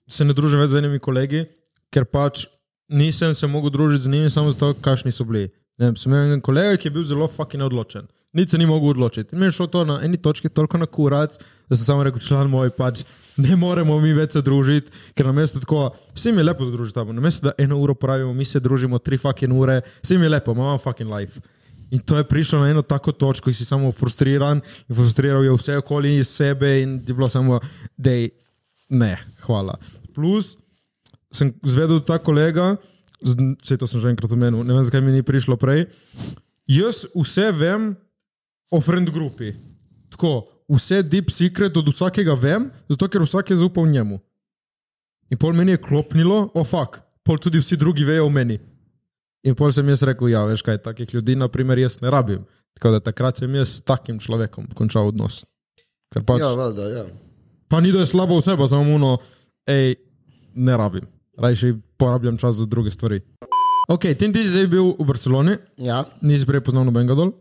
[SPEAKER 1] se ne družim več z enimi kolegi, ker pač nisem se mogel družiti z njimi samo zato, kakšni so bili. Ne, vem, sem imel en kolega, ki je bil zelo fucking odločen. Nič se ni mogel odločiti. In Mi je šlo to na eni točki toliko na kurac, da sem samo rekel, član moj, pač ne moremo mi več se družiti, ker na mestu tako, vsi mi je lepo združiti tam, na mestu da eno uro pravimo, mi se družimo tri fucking ure, vsi mi je lepo, imamo fucking life. In to je prišlo na eno tako točko, ki si samo frustriran in frustriral je vse okoli iz sebe in je bilo samo, da ne, hvala. Plus, sem zvedel, da ta kolega, vse to sem že enkrat omenil, ne vem, zakaj mi ni prišlo prej. Jaz vse vem o friend grupi. Tako, vse deep secret od vsakega vem, zato ker vsak je zaupal njemu. In pol meni je klopnilo, o oh, fuk, pol tudi vsi drugi vejo o meni. In pol sem jaz rekel, ja, veš kaj, takih ljudi, na primer, jaz ne rabim. Tako da takrat sem jaz s takim človekom končal odnos. Ker pač
[SPEAKER 4] Ja, valjda, ja.
[SPEAKER 1] Pa ni, da je slaba oseba, samo ono, hej, ne rabim. Rajši porabljam čas za druge stvari. Ok, Tim, ti si zdaj bil v Barceloni,
[SPEAKER 4] Ja,
[SPEAKER 1] nisi prej poznal nobenega dol.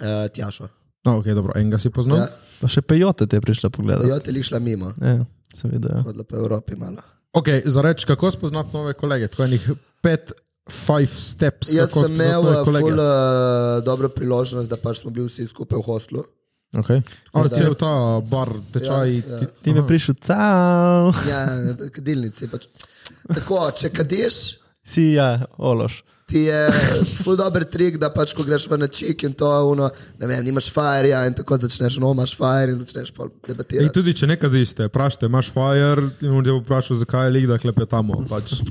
[SPEAKER 4] e, tjaša.
[SPEAKER 1] A, ok, dobro, enega si poznal.
[SPEAKER 4] Ja.
[SPEAKER 1] Ja.
[SPEAKER 5] Pa še pejote te je prišla pogledat.
[SPEAKER 4] Jo, te lišla mimo,
[SPEAKER 5] Ja, sem videl. Ja.
[SPEAKER 4] hodila po Evropi malo.
[SPEAKER 1] Ok, za reč, kako spoznati nove kolege? Tako enih pet, five steps.
[SPEAKER 4] Jaz
[SPEAKER 1] kako
[SPEAKER 4] sem
[SPEAKER 1] spoznati
[SPEAKER 4] imel
[SPEAKER 1] nove
[SPEAKER 4] eh,
[SPEAKER 1] kolege.
[SPEAKER 4] ful eh, dobro priložnost, da pač smo bili vsi skupaj v hostlu.
[SPEAKER 1] Okay. A,
[SPEAKER 4] da-
[SPEAKER 1] cel ta bar, tečaj.
[SPEAKER 4] Ja, ja.
[SPEAKER 1] ti-
[SPEAKER 5] Ti mi je
[SPEAKER 1] aha.
[SPEAKER 5] prišel, cao,
[SPEAKER 4] Ja, na kadilnici. Pač. Tako, če kadiš,
[SPEAKER 5] si ja, ološ.
[SPEAKER 4] ti je ful dober trik, da pač ko greš v načik in to, uno, ne vem, nimaš fajerja in tako začneš, no, imaš fajer in začneš pol
[SPEAKER 1] Ej,
[SPEAKER 4] debatirati.
[SPEAKER 1] tudi če nekaj ziste, vprašajte, imaš fire in on te bo vprašal, zakaj je lik, da klepetamo.
[SPEAKER 4] Eh,
[SPEAKER 1] Pač.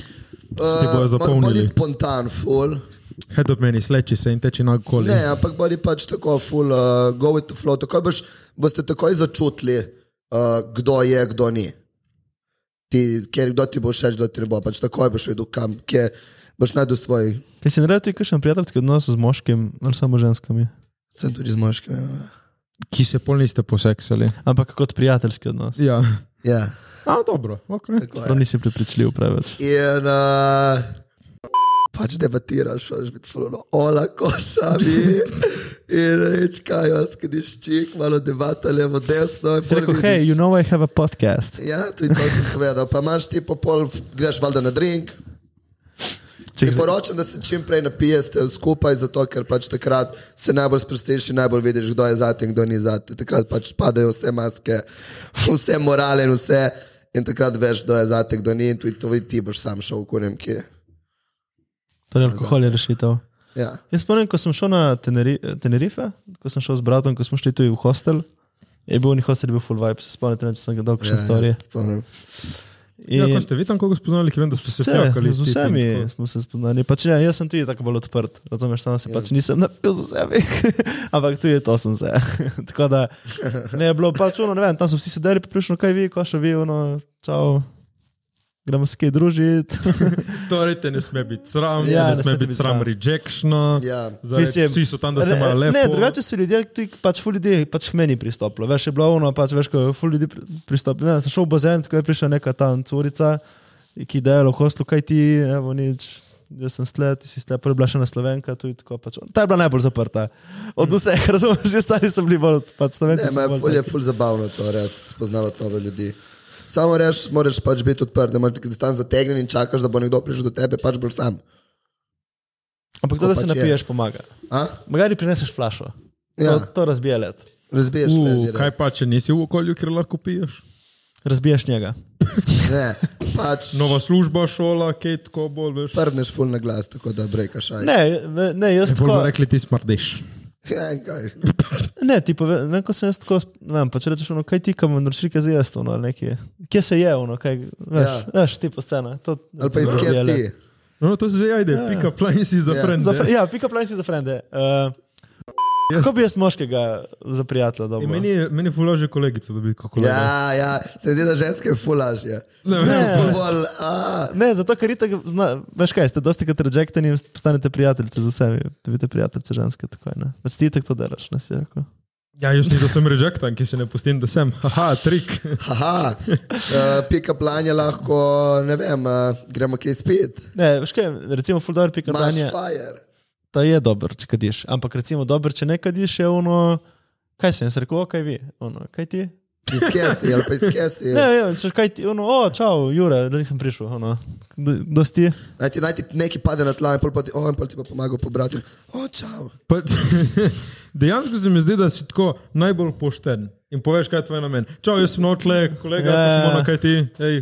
[SPEAKER 1] Ti bojo
[SPEAKER 4] Bodi
[SPEAKER 1] zapomnili.
[SPEAKER 4] spontan, ful.
[SPEAKER 1] Kaj to meni, sleči se in teči na koli.
[SPEAKER 4] Ne, ampak bodi pač tako, ful, uh, go with the flow. Takoj boš, boste takoj začutili, uh, kdo je, kdo ni. Ti, ker kdo ti bo všeč, kdo ti ne bo. Pač takoj boš vedel, kam, kje boš najdel svoj,
[SPEAKER 5] Kaj si naredil, ti kakšen prijateljski odnos z moškim ali samo ženskami?
[SPEAKER 4] sem tudi z moškim. ja.
[SPEAKER 1] Ki se pol niste poseksali.
[SPEAKER 5] Ampak kot prijateljski odnos.
[SPEAKER 1] Ja.
[SPEAKER 4] Ja,
[SPEAKER 1] A, dobro, okay.
[SPEAKER 4] tako
[SPEAKER 5] Prav
[SPEAKER 4] je.
[SPEAKER 5] nisi prepričljiv preveč.
[SPEAKER 4] In uh, pač debatiraš, moraš biti fulano, ola košami. In reč, kaj, jaz skadiš čik, malo debata levo, desno. in
[SPEAKER 5] Si
[SPEAKER 4] pol
[SPEAKER 5] rekel,
[SPEAKER 4] vidiš-
[SPEAKER 5] hej, you know I have a podcast.
[SPEAKER 4] Ja, tudi to sem povedal. Pa imaš ti po pol, greš valjda na drink.
[SPEAKER 5] Če
[SPEAKER 4] Priporočam, da se čim prej napijete skupaj, zato ker pač takrat se najbolj sprostiš in najbolj vidiš, kdo je za te in kdo ni za te. Takrat pač padajo vse maske, vse morale in vse. In takrat veš, kdo je za te, kdo ni. In tudi to ti boš sam šel, kurem, ki je.
[SPEAKER 5] Torej, alkohol je rešitev.
[SPEAKER 4] Ja.
[SPEAKER 5] Jaz spomnim, ko sem šel na Teneri, Tenerife, ko sem šel z bratom, ko smo šli tu v hostel, je bil njihov hostel, je bil full vibe, se spomnite, če sem ga dal kakšne storije.
[SPEAKER 4] Ja, jaz se spomnim.
[SPEAKER 1] ja, ko ste vi tam koga spoznali, ki vem, da ste se
[SPEAKER 5] Vse,
[SPEAKER 1] fjakali.
[SPEAKER 5] z vsemi smo se spoznali. Pač ne, jaz sem tudi tako bolj odprt, razumeš, samo se pač nisem napil z vsemi, ampak tudi to sem se. tako da ne je bilo pač ono, ne vem, tam so vsi sedeli, prišlo kaj vi, ko še vi, ono, čau, gremo se kaj družiti.
[SPEAKER 1] Torej, te ne sme biti sram, ja,
[SPEAKER 5] Ja,
[SPEAKER 1] ne sme biti sram rejectiona.
[SPEAKER 4] Ja.
[SPEAKER 1] Zdaj,
[SPEAKER 5] Mislim,
[SPEAKER 1] vsi so tam, da se
[SPEAKER 5] Re-
[SPEAKER 1] imajo lepo.
[SPEAKER 5] Ne, drugače so ljudje, tudi pač ful ljudi, pač k meni pristopilo. Veš, je bilo ono, pač veš, ko je ful ljudi pri- pristopilo. Ne, vem, sem šel v bazen, tako je prišla neka tam curica, ki je v hostlu, kaj ti, evo nič. Jaz sem sled, ti si sled, prvi bila še na Slovenka, tu je tako pač. Ta je bila najbolj zaprta.
[SPEAKER 1] Mm.
[SPEAKER 5] Od vseh, razumeš, že stari so bili bolj, pač Slovenci.
[SPEAKER 4] Ne,
[SPEAKER 5] so
[SPEAKER 4] ma je
[SPEAKER 5] bolj
[SPEAKER 4] ful, je
[SPEAKER 5] taki.
[SPEAKER 4] ful zabavno to, res spoznavati nove ljudi. Samo reš, moraš pač biti odprt, ne moreš biti tam zategnjen in čakaš, da bo nekdo prišel do tebe, pač bolj sam.
[SPEAKER 5] Ampak to,
[SPEAKER 4] tako
[SPEAKER 5] da se
[SPEAKER 4] pač je.
[SPEAKER 5] napiješ, pomaga.
[SPEAKER 4] A?
[SPEAKER 5] Magari prineseš flašo.
[SPEAKER 4] Ja.
[SPEAKER 5] To, to razbije let.
[SPEAKER 4] Razbiješ me,
[SPEAKER 1] U,
[SPEAKER 4] direkt.
[SPEAKER 1] kaj pa, če nisi v okolju, kjer lahko piješ?
[SPEAKER 5] Razbiješ njega.
[SPEAKER 4] Ne, pač no.
[SPEAKER 1] Nova služba, šola, kaj tako bolj veš. E,
[SPEAKER 4] prdneš ful na glas, tako da brekaš aj.
[SPEAKER 5] Ne, ne, ne jaz
[SPEAKER 1] Bolj
[SPEAKER 5] tako.
[SPEAKER 1] bi rekli, ti smrdiš.
[SPEAKER 4] Ja, kaj.
[SPEAKER 5] Ne, ti pove, ne, ko sem jaz tako, sp- ne vem, pa če rečeš, ono, kaj ti kam naročili, kaj za jaz, ono, ali nekje. Kje se je, ono, kaj, veš,
[SPEAKER 4] Ja.
[SPEAKER 5] ja. veš ti po scena. To,
[SPEAKER 4] Ali pa iz kje
[SPEAKER 5] Ja,
[SPEAKER 4] si.
[SPEAKER 5] le.
[SPEAKER 1] No, to se že ajde, ja, pika plajn si za
[SPEAKER 4] Ja.
[SPEAKER 1] ja. friend.
[SPEAKER 5] Za, fr- ja, pika plan si za frende. Uh, kako bi jaz moškega za prijatelja dobil?
[SPEAKER 1] Meni je- meni je fulaže kolegico dobiti kot kolega.
[SPEAKER 4] Ja, ja, se mi zdi, da ženske fulažje.
[SPEAKER 1] Ne vem.
[SPEAKER 4] Ful bolj, a,
[SPEAKER 5] Ne, zato ker itak, zna, veš kaj, ste dosti krat rejectani in postanete prijateljice z vsemi, dobite prijateljice ženske, tako je. Pač ti tako to delaš, nas je rekel.
[SPEAKER 1] Ja, jaz nisem, da sem rejectan, ki se ne pustim, da sem. Haha, trik.
[SPEAKER 4] haha, uh, pika planja lahko, ne vem, uh, gremo kje spet.
[SPEAKER 5] Ne, veš kaj, recimo Fuldor pika
[SPEAKER 4] Imaš
[SPEAKER 5] danje.
[SPEAKER 4] fire.
[SPEAKER 5] ta je dober, če kadiš. Ampak recimo, dober, če ne kadiš, je ono, kaj se jim reče, kaj vi, ono, kaj ti,
[SPEAKER 4] Iz kesi, ali pa iz kesi.
[SPEAKER 5] Ne, ne, češ kaj ti, ono, o, čau, Jure, da nisem prišel, ono, Do- dosti.
[SPEAKER 4] Naj ti, naj ti nekaj pade na tla in pol pa ti, oh, in pol ti pa pomaga pobrati. O, čau.
[SPEAKER 1] Pa, dejansko se mi zdi, da si tako najbolj pošten in poveš, kaj je tvoj namen. Čau, jaz sem notle, kolega,
[SPEAKER 5] Ja, ja,
[SPEAKER 1] ja,
[SPEAKER 5] ja.
[SPEAKER 1] ja. kaj ti. Ej,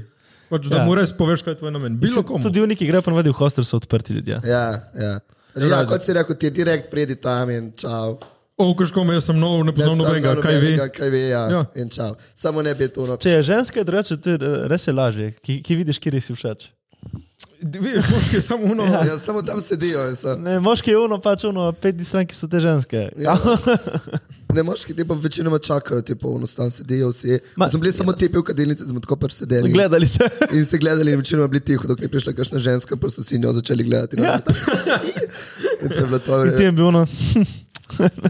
[SPEAKER 1] pač, da
[SPEAKER 5] Ja.
[SPEAKER 1] ja. mu res poveš, kaj je tvoj namen. Bilo komu.
[SPEAKER 5] Tudi v neki gre, pa vadi v hostel so odprti ljudje.
[SPEAKER 4] Ja, ja. Že, ja, kot si rekel, ti je direkt pridi tam in čau.
[SPEAKER 1] O, kaškom, jaz sem nov, ne
[SPEAKER 4] Ne,
[SPEAKER 1] poznam
[SPEAKER 4] sam
[SPEAKER 1] nobenega,
[SPEAKER 4] ne
[SPEAKER 1] kaj vi.
[SPEAKER 4] nobenega, Kaj ve, ja.
[SPEAKER 1] Ja.
[SPEAKER 4] ja. In čau. Samo ne bi to noč.
[SPEAKER 5] Če je ženska, je drugače, to je res je lažje, ki, ki vidiš, kje si všeč.
[SPEAKER 1] Veš, moški je samo uno. Ja.
[SPEAKER 4] Ja, samo tam sedijo. in So.
[SPEAKER 5] Ne, moški je ono, pač ono, pet stranki so te ženske.
[SPEAKER 4] Ja. Ne moški ti pa večinoma čakajo, ti pa vnostavno sedijo vsi.
[SPEAKER 5] Ma,
[SPEAKER 4] Ma, smo bili samo
[SPEAKER 5] jaz-
[SPEAKER 4] tipi v kadilnici, smo tako pač sedeli.
[SPEAKER 5] Gledali se.
[SPEAKER 4] In se gledali, in večinoma bili tiho, dokler je prišla kakšna ženska, prosto si njo začeli gledati. Ja. In se je bilo to
[SPEAKER 5] Ti je
[SPEAKER 4] vreme.
[SPEAKER 5] bil ono,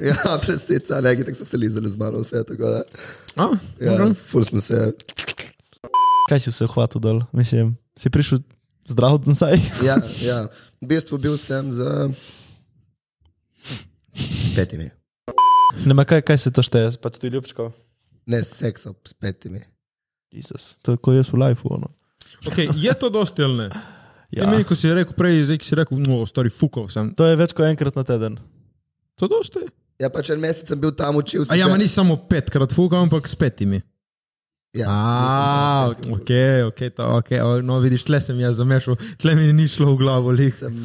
[SPEAKER 4] Ja, prestica, neki tako so se lizali z mano, vse tako da.
[SPEAKER 1] A,
[SPEAKER 4] Ja,
[SPEAKER 1] okay.
[SPEAKER 4] ful smo se.
[SPEAKER 5] kaj si vse hvatil dol, mislim, si prišel zdrav nazaj.
[SPEAKER 4] Ja, ja. V bistvu bil sem z petimi.
[SPEAKER 5] Ne, ma kaj, kaj se to šteje, pač ti ljubčko.
[SPEAKER 4] Ne s seksom, s petimi.
[SPEAKER 5] Jezus, to je kot jaz v lifeu, ono.
[SPEAKER 1] Okay, je to dosti ali ne? Ja.
[SPEAKER 5] Ja.
[SPEAKER 1] Meni, ko si rekel prej, zdaj ki si rekel, no, stari fukov sem.
[SPEAKER 5] To je več kot enkrat na teden.
[SPEAKER 1] To dosti.
[SPEAKER 4] Ja, pač en mesec sem bil tam učil.
[SPEAKER 1] A ja, ma nisi samo petkrat fukal, ampak s petimi.
[SPEAKER 4] Ja,
[SPEAKER 1] A,
[SPEAKER 4] nisem
[SPEAKER 1] ok, ok, to, ok, o, no vidiš, tle sem jaz zamešal, tle mi ni šlo v glavo, lih.
[SPEAKER 4] sem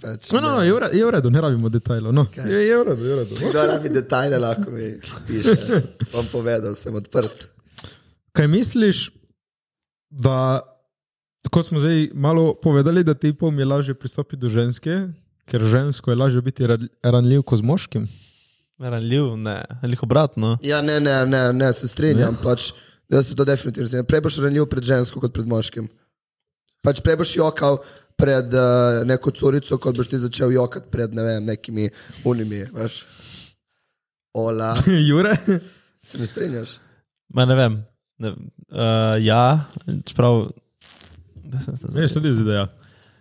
[SPEAKER 4] pač,
[SPEAKER 1] No, no, no, je v re- je v redu, ne rabimo detajlov. No.
[SPEAKER 4] Kaj?
[SPEAKER 1] Je, je v redu, je v redu.
[SPEAKER 4] Če kdo rabi detajle, lahko mi piše. Bom povedal, sem odprt.
[SPEAKER 1] Kaj misliš, da, kot smo zdaj malo povedali, da ti pom je lažje pristopiti do ženske, ker žensko je lažje biti ran- ranljiv kot z moškim?
[SPEAKER 5] Ranljiv, ne, no. ali obratno.
[SPEAKER 4] Ja, ne, ne, ne, ne se strinjam. Pač, da se to definitivno strinjam. Prej boš ranljiv pred žensko kot pred moškim. Pač prej boš jokal pred uh, neko curico, kot boš ti začel jokati pred ne vem, nekimi unimi. Veš. Ola,
[SPEAKER 1] Jure?
[SPEAKER 4] se ne strinjaš?
[SPEAKER 5] Ma ne vem. Ne, uh, ja, čeprav. da sem se
[SPEAKER 1] Meni se tudi zdi, da ja.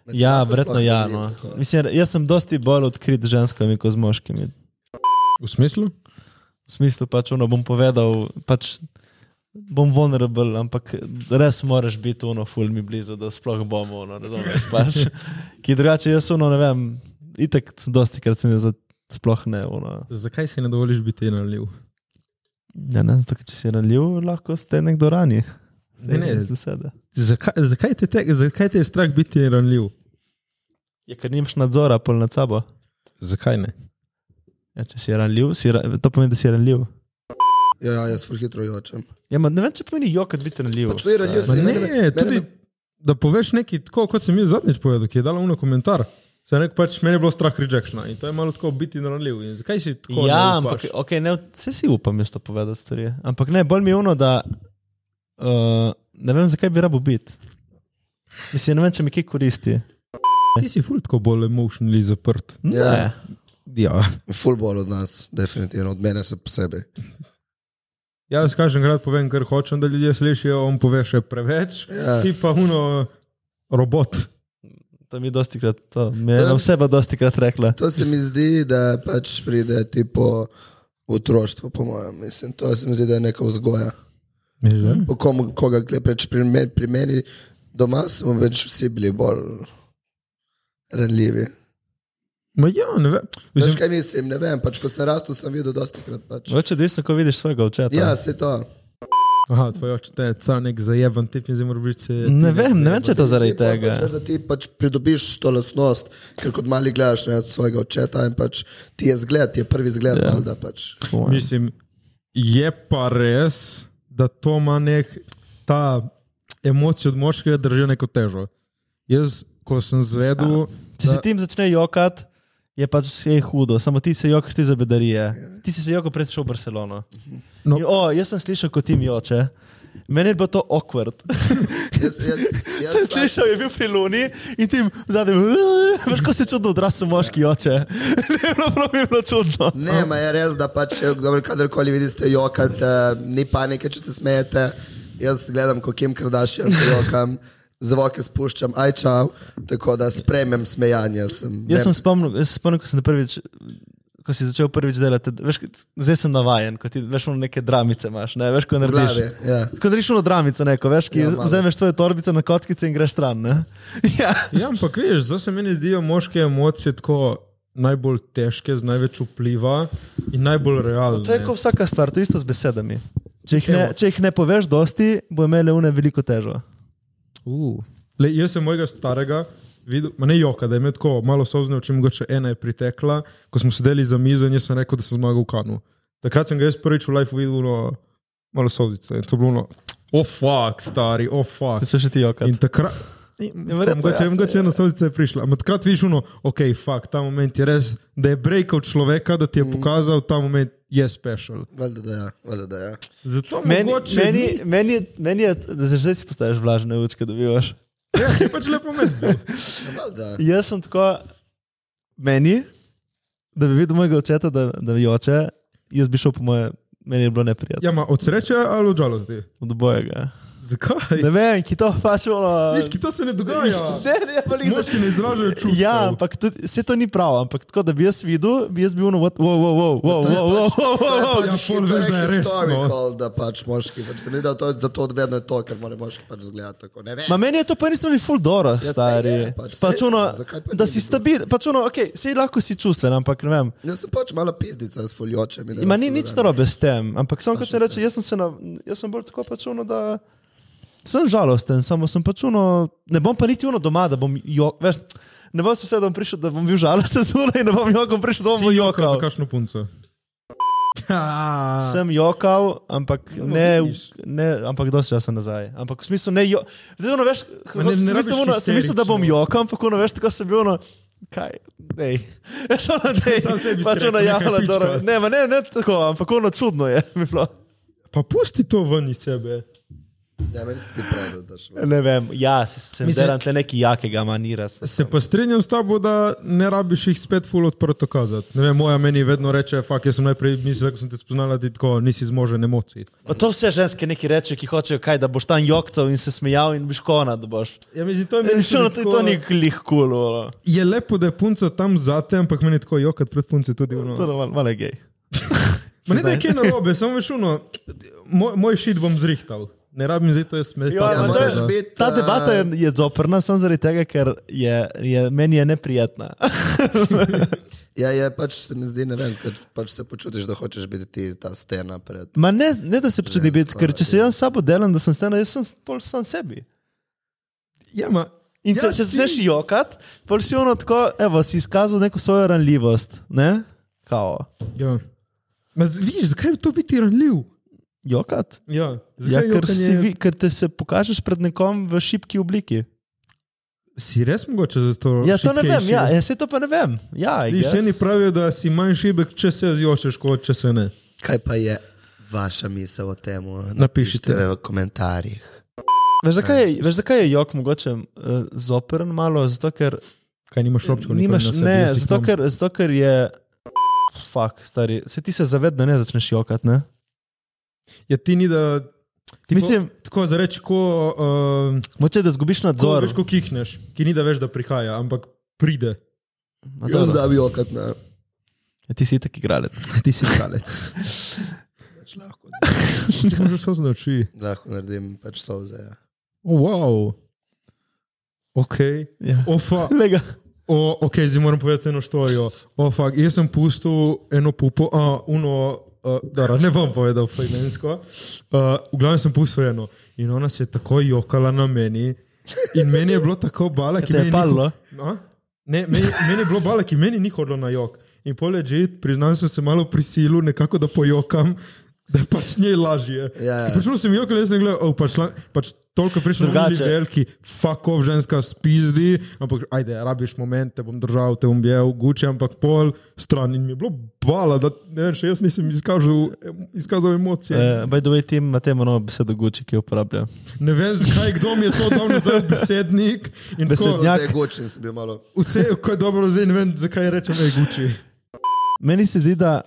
[SPEAKER 4] Me
[SPEAKER 5] Ja,
[SPEAKER 4] sploh-
[SPEAKER 5] verjetno
[SPEAKER 4] sploh
[SPEAKER 5] ja.
[SPEAKER 4] ne
[SPEAKER 5] No.
[SPEAKER 4] vidim tako.
[SPEAKER 5] Mislim, jaz sem dosti bolj odkrit z ženskami kot z moškimi.
[SPEAKER 1] V smislu?
[SPEAKER 5] V smislu, pač ono bom povedal, pač bom vulnerable, ampak res moraš biti ono, ful mi blizu, da sploh bomo ono, razumeš. Pač. Ki drugače jaz ono, ne vem, itek dosti krat sem jaz sploh ne ono.
[SPEAKER 1] Zakaj si ne dovoliš biti ranljiv?
[SPEAKER 5] Ja, ne, zato, ker če si ranljiv, lahko ste nekdo rani.
[SPEAKER 1] Ne, ne.
[SPEAKER 5] z besede.
[SPEAKER 1] Zakaj, zakaj, te, te, zakaj te je strah biti ranljiv?
[SPEAKER 5] Je, Ja, ker nimaš nadzora pol nad sabo.
[SPEAKER 1] Zakaj ne?
[SPEAKER 5] Ja, če si ranljiv, si ra to pomeni, da si ranljiv.
[SPEAKER 4] Ja, ja, jaz hitro jočem.
[SPEAKER 5] Ja, ma ne vem, če pomeni jok, da biti ranljiv.
[SPEAKER 4] Pa to je ranljiv,
[SPEAKER 5] stari.
[SPEAKER 1] Ma
[SPEAKER 4] Mene-
[SPEAKER 1] ne,
[SPEAKER 4] mene-
[SPEAKER 1] tudi
[SPEAKER 4] mene-
[SPEAKER 1] da poveš nekaj tako, kot sem jaz zadnjič povedal, ki je dala uno komentar. Se reče, pač meni je bilo strah rejectiona in to je malo tako biti naranljiv. In Zakaj si tako?
[SPEAKER 5] Ja,
[SPEAKER 1] ne upaš?
[SPEAKER 5] ampak okay, ne, vse si upam, jaz to povedati stvari. Ampak ne, bolj mi je ono, da uh, ne vem, zakaj bi rabo biti. Mislim, ne vem, če mi kaj koristi.
[SPEAKER 1] ti si ful tako bolj emotionally zaprt.
[SPEAKER 5] Ne.
[SPEAKER 4] Ja.
[SPEAKER 1] Ja.
[SPEAKER 4] Full bolj od nas, definitivno, od mene se posebej.
[SPEAKER 1] Jaz kažem, rad povem, kar hočem, da ljudje slišijo, on pove še preveč,
[SPEAKER 4] Ja.
[SPEAKER 1] ti pa uno robot.
[SPEAKER 5] To mi je dosti krat, to mi je
[SPEAKER 4] Ne vem.
[SPEAKER 5] oseba dosti krat rekla.
[SPEAKER 4] To se mi zdi, da pač pride tipo otroštvo, po mojem. Mislim, to se mi zdi, da je neka vzgoja. Po komu, koga gledaš, pri, me- pri meni doma smo več vsi bili bolj ranljivi.
[SPEAKER 1] Ma ja, ne vem.
[SPEAKER 4] Veš
[SPEAKER 1] Mislim,
[SPEAKER 4] kaj mislim, ne vem, pač ko sem rastel, sem videl dosta krat pač.
[SPEAKER 5] Več je desno, ko vidiš svojega očeta.
[SPEAKER 4] Ja, se to.
[SPEAKER 1] aha, tvoj oče te je cel nek zajeban tip in zdaj moraš biti se.
[SPEAKER 5] Ne vem, ne vem, če je to zaradi
[SPEAKER 4] Ti pa
[SPEAKER 5] tega.
[SPEAKER 4] Pač, veš, da ti pač pridobiš to lasnost, ker kot mali gledaš ne, svojega očeta in pač ti je zgled, ti je prvi zgled,
[SPEAKER 5] Ja.
[SPEAKER 4] yeah. da pač.
[SPEAKER 1] Mislim, je pa res, da to ima nek, ta emocija od moškega drži neko težo. Jaz, ko sem zvedel,
[SPEAKER 5] Če se tim začne jokati, je pač vse hudo, samo ti se jokaš ti za bedarije. Ti si se jokal pred šel v Barcelono.
[SPEAKER 1] No.
[SPEAKER 5] No. O, jaz sem slišal, kot tim joče. Meni je bilo to awkward.
[SPEAKER 4] Jaz, jaz, jaz,
[SPEAKER 5] Sem
[SPEAKER 4] pač-
[SPEAKER 5] slišal, je bil pri Luni in tim zadnji, veš, ko se čudno odrasel moški joče. Ne, bilo prav mi je bilo čudno.
[SPEAKER 4] Ne, ma je res, da pač, eh, dobro, kadarkoli vidite, jokate, ni panike, če se smejete. Jaz gledam, ko Kim Kardashian ko jokam, zvoke spuščam, aj čau, tako da spremem smejanje. Sem,
[SPEAKER 5] Jaz
[SPEAKER 4] ne-
[SPEAKER 5] sem spomnil, jaz sem spomnil, ko sem te prvič ko si začel prvič delati, veš, k- zdaj sem navaden, ko ti veš, ono neke dramice imaš, ne, veš, ko narediš.
[SPEAKER 4] glavi, ja.
[SPEAKER 5] Ko narediš ono dramico neko, veš, ki
[SPEAKER 4] Ja,
[SPEAKER 5] ja,
[SPEAKER 4] malo.
[SPEAKER 5] vzameš tvojo torbico na kockice in greš stran, ne. Ja.
[SPEAKER 1] Ja, ampak veš, zdaj se meni zdijo moške emocije tako najbolj težke, z največ vpliva in najbolj realne.
[SPEAKER 5] To je kot vsaka stvar, to je isto z besedami. Če jih, ne,
[SPEAKER 1] Evo.
[SPEAKER 5] če jih ne poveš dosti, bo imele une veliko težo.
[SPEAKER 1] Uh. Le, jaz sem mojega starega videl, ma ne joka, da je imel tako malo sozne oči, mogoče ena je pritekla, ko smo sedeli za mizo in jaz sem rekel, da sem zmagal v kanu. Takrat sem ga jaz prvič v life videl, no, malo soznice. In to je bilo, no, oh, fuck, stari, oh, fuck.
[SPEAKER 5] Ti so še ti joka.
[SPEAKER 1] In takrat.
[SPEAKER 5] verjetno,
[SPEAKER 1] Mogoče,
[SPEAKER 5] ja,
[SPEAKER 1] mogoče
[SPEAKER 5] ja.
[SPEAKER 1] ena sozica je prišla, ampak takrat viš, no, ok, fuck, ta moment je res, da je breakal človeka, da ti
[SPEAKER 5] Mm.
[SPEAKER 1] je pokazal, ta moment je special.
[SPEAKER 4] Valjda, da ja, valjda, da ja.
[SPEAKER 1] Zato
[SPEAKER 5] Meni,
[SPEAKER 1] mogoče
[SPEAKER 5] meni,
[SPEAKER 1] ni-
[SPEAKER 5] meni, je- meni je, da se že zdaj si postaviš vlažne učke, dobivaš.
[SPEAKER 1] Ja, je pač lep moment. bil.
[SPEAKER 4] Valjda. ja.
[SPEAKER 5] Jaz sem tako, meni, da bi videl mojega očeta, da, da joče, jaz bi šel po moje, meni je bilo neprijetno.
[SPEAKER 1] Ja, ma od sreče ali od žalosti?
[SPEAKER 5] Od obojega.
[SPEAKER 1] Zakaj?
[SPEAKER 5] Ne vem, ki to fašilo.
[SPEAKER 1] Viš, ki to se ne dogaja.
[SPEAKER 5] Ne, ne, pa nisem.
[SPEAKER 1] Moški ne izražajo čustev.
[SPEAKER 5] Ja, ampak tudi, vse to ni prav, ampak tako, da bi jaz videl, bi jaz bil na vod, wow, wow, wow, wow,
[SPEAKER 4] To je
[SPEAKER 5] wow, wow,
[SPEAKER 4] pač-
[SPEAKER 5] wow, wow, wow.
[SPEAKER 4] to je
[SPEAKER 1] ja,
[SPEAKER 4] pač
[SPEAKER 1] pol veš, da je res,
[SPEAKER 5] no.
[SPEAKER 4] historical, da pač moški, pač se mi da to, zato vedno je to, ker mora moški pač zgledati tako. Ne vem.
[SPEAKER 5] Ma meni je to po eni strani ful dobro,
[SPEAKER 4] saj
[SPEAKER 5] stari.
[SPEAKER 4] je, pač saj
[SPEAKER 5] Pač
[SPEAKER 4] je,
[SPEAKER 5] ono,
[SPEAKER 4] zakaj pa
[SPEAKER 5] da
[SPEAKER 4] ne
[SPEAKER 5] si
[SPEAKER 4] bi bilo?
[SPEAKER 5] stabilen, pač ono, ok, sej lahko si čustven, ampak ne vem.
[SPEAKER 4] Jaz sem pač mala pizdica s foljočem. in
[SPEAKER 5] Ma ni nič
[SPEAKER 4] razpoložena.
[SPEAKER 5] narobe s tem, ampak samo kot reče, jaz sem, se na, jaz sem bolj tako pač ono, da sem žalosten, samo sem pač ono, ne bom pa niti ono doma, da bom jo, veš, ne bom se vse, da bom prišel, da bom bil žalosten zunaj in ne bom jokom prišel, da bom
[SPEAKER 1] Si jokal
[SPEAKER 5] jokal.
[SPEAKER 1] za kakšno punco.
[SPEAKER 5] Ja. Sem jokal, ampak
[SPEAKER 1] No,
[SPEAKER 5] ne,
[SPEAKER 1] vidiš.
[SPEAKER 5] ne ampak dosti časa nazaj. Ampak v smislu ne, jo, zdaj ono veš, kako
[SPEAKER 1] ne- ne
[SPEAKER 5] sem
[SPEAKER 1] rabiš
[SPEAKER 5] mislil, ono, sem mislil, da bom
[SPEAKER 1] histerično.
[SPEAKER 5] jokal, ampak ono veš, tako sem bil ono, kaj, nej. Veš ono, nej,
[SPEAKER 1] Sam sebi si
[SPEAKER 5] pač
[SPEAKER 1] rekel,
[SPEAKER 5] ono
[SPEAKER 1] nekaj
[SPEAKER 5] javno,
[SPEAKER 1] pička.
[SPEAKER 5] dobro. Ne, ma ne, ne tako, ampak ono čudno je mi bilo.
[SPEAKER 1] Pa pusti to ven iz sebe.
[SPEAKER 4] Ja, meni se ti no. pravi, da še.
[SPEAKER 5] Ne vem, ja, se- sem
[SPEAKER 1] Mislim-
[SPEAKER 5] delam tle neki jakega manira.
[SPEAKER 1] Se pa strinjam s tabo, da ne rabiš jih spet full odprto kazati. Ne vem, moja meni vedno reče, fak, jaz sem najprej mislila, ko sem te spoznala, da ti tako nisi zmožen emocij.
[SPEAKER 5] Pa to vse ženske neki reče, ki hočejo kaj, da boš tam jokcal in se smejal in biš kona, da boš.
[SPEAKER 1] Ja, mislim, to je
[SPEAKER 5] Ne,
[SPEAKER 1] meni
[SPEAKER 5] še ono, to,
[SPEAKER 1] tudi
[SPEAKER 5] to
[SPEAKER 1] tako-
[SPEAKER 5] ni lih kul, cool,
[SPEAKER 1] Je lepo, da je punca tam zate, ampak meni je tako jokat pred punce tudi ono.
[SPEAKER 5] to je malo mal je gej.
[SPEAKER 1] Ma ne, da je kaj narobe, samo veš uno, moj, moj šit bom zrihtal. Ne rabim zdaj to jaz smeti.
[SPEAKER 5] Ja, ma to je-
[SPEAKER 4] moraš biti,
[SPEAKER 5] Ta
[SPEAKER 4] eh,
[SPEAKER 5] debata je, je zoprna samo zaradi tega, ker je, je meni je neprijetna.
[SPEAKER 4] Ja, je pač se mi zdi, ne vem, ker pač se počutiš, da hočeš biti ti ta stena pred.
[SPEAKER 5] Ma ne, ne da se počuti
[SPEAKER 1] Ja,
[SPEAKER 5] biti, ker če se jaz sabo delam, da sem stena, jaz sem pol sam sebi.
[SPEAKER 1] Ja, ma,
[SPEAKER 5] In če
[SPEAKER 1] ja,
[SPEAKER 5] ja, se
[SPEAKER 1] si.
[SPEAKER 5] začneš jokat, pol si ono tako, evo, si izkazal neko svojo ranljivost, ne? Kao.
[SPEAKER 1] Ja. Ma, z- vidiš, zakaj bi to biti ranljiv?
[SPEAKER 5] Jokat?
[SPEAKER 1] Ja,
[SPEAKER 5] Ja,
[SPEAKER 1] zakaj
[SPEAKER 5] ker,
[SPEAKER 1] jokanje-
[SPEAKER 5] si, vi- ker te se pokažeš pred nekom v šibki obliki.
[SPEAKER 1] Si res mogoče za to?
[SPEAKER 5] Ja, to ne vem,
[SPEAKER 1] šibkejši?
[SPEAKER 5] ja, ja, se to pa ne vem. Ja, I
[SPEAKER 1] Vidiš,
[SPEAKER 5] guess.
[SPEAKER 1] eni pravijo, da si manj šibek, če se zjočeš, kot če se ne.
[SPEAKER 4] Kaj pa je vaša misel o tem?
[SPEAKER 1] Napišite.
[SPEAKER 4] v komentarjih.
[SPEAKER 5] veš, zakaj je, veš, zakaj je jok mogoče uh, zoperen malo? Zato, ker
[SPEAKER 1] Kaj nimaš robčkov? nikoli na
[SPEAKER 5] Nimaš,
[SPEAKER 1] sebi,
[SPEAKER 5] ne,
[SPEAKER 1] jaz jih
[SPEAKER 5] zato
[SPEAKER 1] imam.
[SPEAKER 5] ker, zato ker je. Fak, stari. Se ti se zavedno ne začneš jokati, ne?
[SPEAKER 1] Ja, ti ni da... Tipo,
[SPEAKER 5] Mislim-
[SPEAKER 1] Tako za reči, ko... Uh,
[SPEAKER 5] Moče, da zgubiš
[SPEAKER 1] ko
[SPEAKER 5] nadzor.
[SPEAKER 1] veš, ko kihneš, ki ni da veš, da prihaja, ampak pride.
[SPEAKER 5] Ma
[SPEAKER 4] Jaz
[SPEAKER 5] No, dobro.
[SPEAKER 4] da bi okat na.
[SPEAKER 5] Ja, ti si tak igralec.
[SPEAKER 1] Ti si kalec.
[SPEAKER 4] Pač lahko,
[SPEAKER 1] Ti imaš sozne oči.
[SPEAKER 4] lahko naredim pač solze. Ja.
[SPEAKER 1] Oh, wow. Ok.
[SPEAKER 5] Ja.
[SPEAKER 1] Ofa.
[SPEAKER 5] Mega.
[SPEAKER 1] O, ok, zdaj moram povedati eno štorijo. O, fakt, jaz sem pustil eno pupo, a, uno, a, dara, ne bom povedal fajnensko. A, v glavnem sem pustil eno in ona se je tako jokala na meni in meni je bilo tako bala, ki
[SPEAKER 5] te je
[SPEAKER 1] meni ni
[SPEAKER 5] padlo?
[SPEAKER 1] ho- A? Ne, meni, meni je bilo bala, ki meni ni hodilo na jok. In poleži, priznam sem se malo prisilil nekako, da pojokam, da pač njej lažje.
[SPEAKER 4] Ja, ja.
[SPEAKER 1] In Počutil sem jokal, jaz sem gledal, oh, pač, la- pač toliko je prišlo
[SPEAKER 5] Drugače.
[SPEAKER 1] Drugače. Veliki, fakov ženska spizdi, ampak ajde, rabiš moment, te bom držal, te bom jel, guče, ampak pol stran in mi je bilo bala, da ne vem, še jaz nisem izkažil, em- izkazal emocije. E.
[SPEAKER 5] Uh, by the way, tim ima temo novo besedo Gucci, ki jo uporablja.
[SPEAKER 1] Ne vem, zakaj kdo mi je to dal nazaj v besednik. in tako,
[SPEAKER 5] Besednjak.
[SPEAKER 4] Zdaj je gočen, sem bil malo.
[SPEAKER 1] Vse, ko je dobro, zdaj ne vem, zakaj rečem, da je guči.
[SPEAKER 5] Meni se zdi, da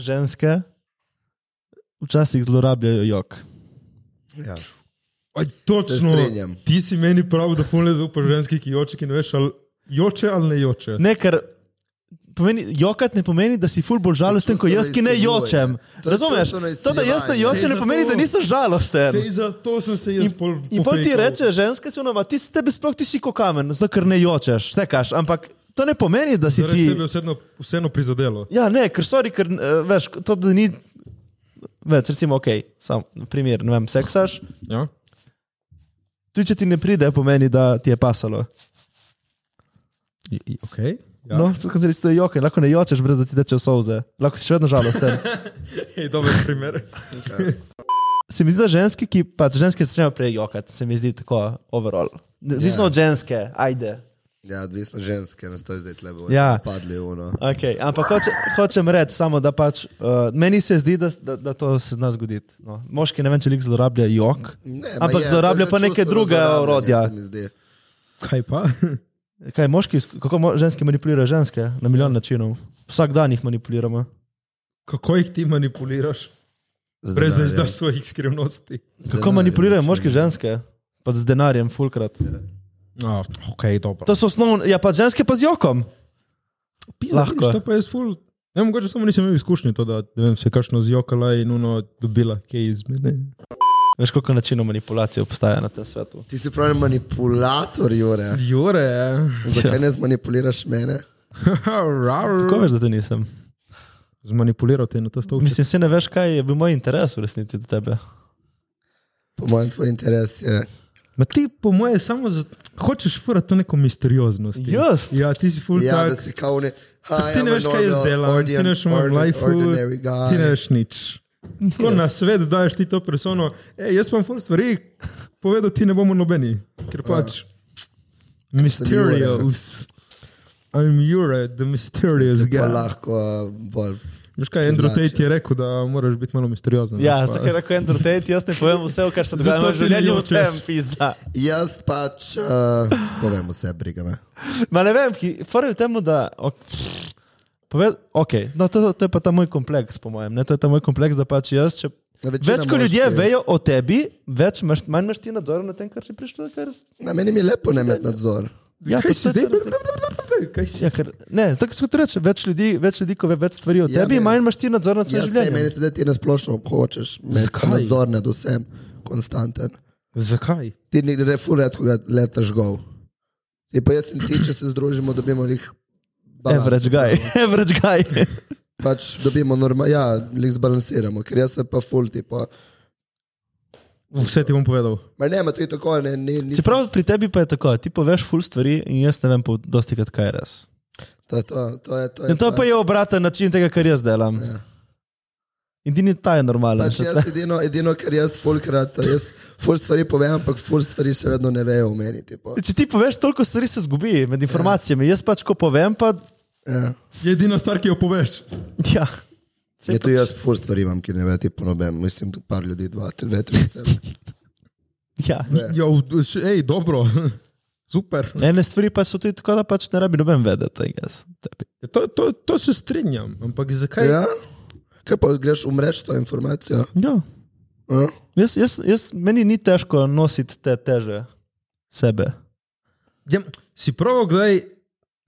[SPEAKER 5] ženske včasih zlorabljajo jok.
[SPEAKER 4] Ja.
[SPEAKER 1] Aj, točno,
[SPEAKER 4] Se strinjam.
[SPEAKER 1] ti si meni prav, da fulne zaupa ženski, ki joče, ki ne veš, ali joče ali ne joče.
[SPEAKER 5] Ne, ker Pomeni, jokat ne pomeni, da si ful bolj žalosten, kot jaz, ki ne
[SPEAKER 4] čustveno
[SPEAKER 5] jočem.
[SPEAKER 4] izsiljuje. To je
[SPEAKER 5] Razumeš?
[SPEAKER 4] čustveno
[SPEAKER 5] To, da jaz ne
[SPEAKER 4] izsiljevanje.
[SPEAKER 5] jočem, ne
[SPEAKER 1] Saj
[SPEAKER 5] pomeni, da
[SPEAKER 1] zato-
[SPEAKER 5] nisem žalosten.
[SPEAKER 1] Sej zato sem se jaz
[SPEAKER 5] In,
[SPEAKER 1] pol.
[SPEAKER 5] in pol ti
[SPEAKER 1] pofejkal.
[SPEAKER 5] reče, ženske so nova, ti si tebe sploh ti si kot kamen, zato ker ne jočeš, tekaš, ampak to ne pomeni, da si
[SPEAKER 1] Zares
[SPEAKER 5] ti.
[SPEAKER 1] tebe je vseeno, vseeno prizadelo.
[SPEAKER 5] Ja, ne, ker sorry, ker eh, veš, to da ni. Več, recimo, ok, sam primer, ne vem, seksaš.
[SPEAKER 1] Ja?
[SPEAKER 5] Tudi če ti ne pride, pomeni, da ti je pasalo.
[SPEAKER 1] I, i, okay.
[SPEAKER 5] Ja. No, kot se reče, joke, lahko ne jočeš, brez da ti teče solze, lahko si še vedno žalosten.
[SPEAKER 1] Hej, dober primer.
[SPEAKER 5] se mi zdi, da ženske, ki pač ženske začnejo prej jokati, se mi zdi tako, overall. Odvisno yeah. od ženske, ajde.
[SPEAKER 4] Ja, odvisno ženske, nas to je zdaj tle bo.
[SPEAKER 5] Ja.
[SPEAKER 4] Padli uno.
[SPEAKER 5] Okay, ampak hoče, hočem reči samo, da pač, uh, meni se zdi, da, da, da to se zna zgoditi. No. Moški ne vem, če jih zlorablja jok,
[SPEAKER 4] Ne, ma
[SPEAKER 5] ampak
[SPEAKER 4] je,
[SPEAKER 5] zlorablja
[SPEAKER 4] to je
[SPEAKER 5] pa neke
[SPEAKER 4] čustveno
[SPEAKER 5] druge
[SPEAKER 4] zlorabljanje,
[SPEAKER 5] orodja.
[SPEAKER 4] se mi zdi.
[SPEAKER 1] Kaj pa?
[SPEAKER 5] Kaj moški, kako mo ženski manipulirajo ženske? Na milijon načinov. Vsak dan jih manipuliramo.
[SPEAKER 1] Kako jih ti manipuliraš?
[SPEAKER 4] Z
[SPEAKER 1] Brez da
[SPEAKER 4] denarjem.
[SPEAKER 1] izdaš svojih skrivnosti.
[SPEAKER 5] Kako manipulirajo moški ženske? Pa z denarjem, fulkrat.
[SPEAKER 1] Ah, ok, dobro.
[SPEAKER 5] To so osnovne, ja pa ženske pa z jokom.
[SPEAKER 1] Pizda,
[SPEAKER 5] Lahko.
[SPEAKER 1] vidiš, To pa jaz ful. Ne, mogoče samo nisem imel izkušnje to, da ne vem, se je kakšno zjokala in uno dobila kaj iz mene.
[SPEAKER 5] Veš, koliko načinov manipulacije obstaja na tem svetu.
[SPEAKER 4] Ti si pravi manipulator, Jure.
[SPEAKER 5] Ja.
[SPEAKER 1] Jure,
[SPEAKER 4] Zakaj ne zmanipuliraš mene?
[SPEAKER 5] Kako veš, da te nisem?
[SPEAKER 1] zmanipuliral te na ta stol.
[SPEAKER 5] Mislim, se ne veš, kaj je bil moj interes v resnici do tebe.
[SPEAKER 4] Po mojem, tvoj interes je.
[SPEAKER 1] Ma ti, po moje, samo za... hočeš furati to neko misterioznost.
[SPEAKER 5] Jaz?
[SPEAKER 1] Ja, ti si ful
[SPEAKER 4] Ja, da
[SPEAKER 1] tak.
[SPEAKER 4] si kao ja, ne.
[SPEAKER 1] Pač ti ne
[SPEAKER 4] no,
[SPEAKER 1] veš, kaj jaz delam, ti ne veš o mojem lifeu, ti ne veš nič. Ko na svet daš ti to persono, e, jaz pa ful stvari povedal, ti ne bomo nobeni, ker pač mysterious. I'm Jure, the mysterious
[SPEAKER 4] Ja,
[SPEAKER 1] guy.
[SPEAKER 4] lahko a, bolj.
[SPEAKER 1] Veš kaj, Andrew
[SPEAKER 4] Drugače.
[SPEAKER 1] Tate je rekel, da moraš biti malo misteriozen.
[SPEAKER 5] Ja,
[SPEAKER 1] veš pa.
[SPEAKER 5] zato ker rekel Andrew Tate, jaz ne povem vse, kar se dogaja
[SPEAKER 1] Zato
[SPEAKER 5] v
[SPEAKER 1] ti
[SPEAKER 5] življenju,
[SPEAKER 1] ne
[SPEAKER 5] vsem
[SPEAKER 1] jočeš.
[SPEAKER 5] pizda.
[SPEAKER 4] Jaz pač, uh, povem vse, ja. briga me.
[SPEAKER 5] Ma ne vem, ki, prvi temu, da. Ok, poved, okay. no, to, to je pa ta moj kompleks, po mojem. Ne? To je ta moj kompleks, da pač jaz. Če,
[SPEAKER 4] Da večina
[SPEAKER 5] več kot ljudje
[SPEAKER 4] moških-
[SPEAKER 5] vejo o tebi, več imaš, manj imaš ti nadzora nad tem, kar si prišel. Kar,
[SPEAKER 4] Na meni mi je lepo ne imeti nadzor.
[SPEAKER 5] ja,
[SPEAKER 1] Kaj
[SPEAKER 5] pač
[SPEAKER 1] si
[SPEAKER 5] to je
[SPEAKER 1] zdaj?
[SPEAKER 5] to razlika.
[SPEAKER 1] Kaj si?
[SPEAKER 5] Ja, ker, ne, zdaj, ko se kot reče, več ljudi, več ljudi, ko ve več stvari o
[SPEAKER 4] Ja,
[SPEAKER 5] tebi,
[SPEAKER 4] ne.
[SPEAKER 5] ja, manj imaš ti nadzor nad svojim
[SPEAKER 4] Jaz se meni
[SPEAKER 5] življenjem.
[SPEAKER 4] se da ti nasplošno hočeš, imeti nadzor nad vsem, konstanten.
[SPEAKER 1] Zakaj?
[SPEAKER 4] Ti ne gre furat, ko letaš gov. Ti pa jaz in ti, če se združimo, dobimo jih.
[SPEAKER 5] Average guy, average guy.
[SPEAKER 4] Pač dobimo norma, ja, jih zbalansiramo, ker jaz sem pa full tipo.
[SPEAKER 1] Vse ti bom povedal.
[SPEAKER 4] Ma ne, ma to je tako, ne, ne, ne.
[SPEAKER 5] Čeprav pri tebi pa je tako, ti poveš ful stvari in jaz ne vem, po dosti krat kaj je res.
[SPEAKER 4] To, to, to je, to je,
[SPEAKER 5] In No, to pa je obraten način tega, kar jaz delam.
[SPEAKER 4] Ja.
[SPEAKER 5] In ti ni ta je normalen.
[SPEAKER 4] Pač jaz edino, edino, kar jaz fulkrat, jaz ful stvari povem, ampak ful stvari še vedno ne vejo o meni. Tipo.
[SPEAKER 5] Če ti poveš, toliko stvari se zgubi med informacijami. Jaz pač, ko povem, pa.
[SPEAKER 4] Ja.
[SPEAKER 1] Je edina stvar, ki jo poveš.
[SPEAKER 5] Ja. Saj
[SPEAKER 4] Je tu
[SPEAKER 5] pač-
[SPEAKER 4] jaz ful stvari imam, ki ne vejo tipo noben. Mislim, tu par ljudi, dva, tri, dve, tri. osebe.
[SPEAKER 5] Ja.
[SPEAKER 1] Ja, hej, dobro. Super.
[SPEAKER 5] Ene stvari pa so tudi tako, da pač ne rabi noben vedeti. I guess, tebi.
[SPEAKER 1] Ja, To, to, to se strinjam, ampak zakaj?
[SPEAKER 4] Ja? Kaj pa greš umreč to informacijo?
[SPEAKER 5] Ja.
[SPEAKER 4] Ja?
[SPEAKER 5] Jaz, jaz, jaz, meni ni težko nositi te teže sebe.
[SPEAKER 1] Ja, si prav, kdaj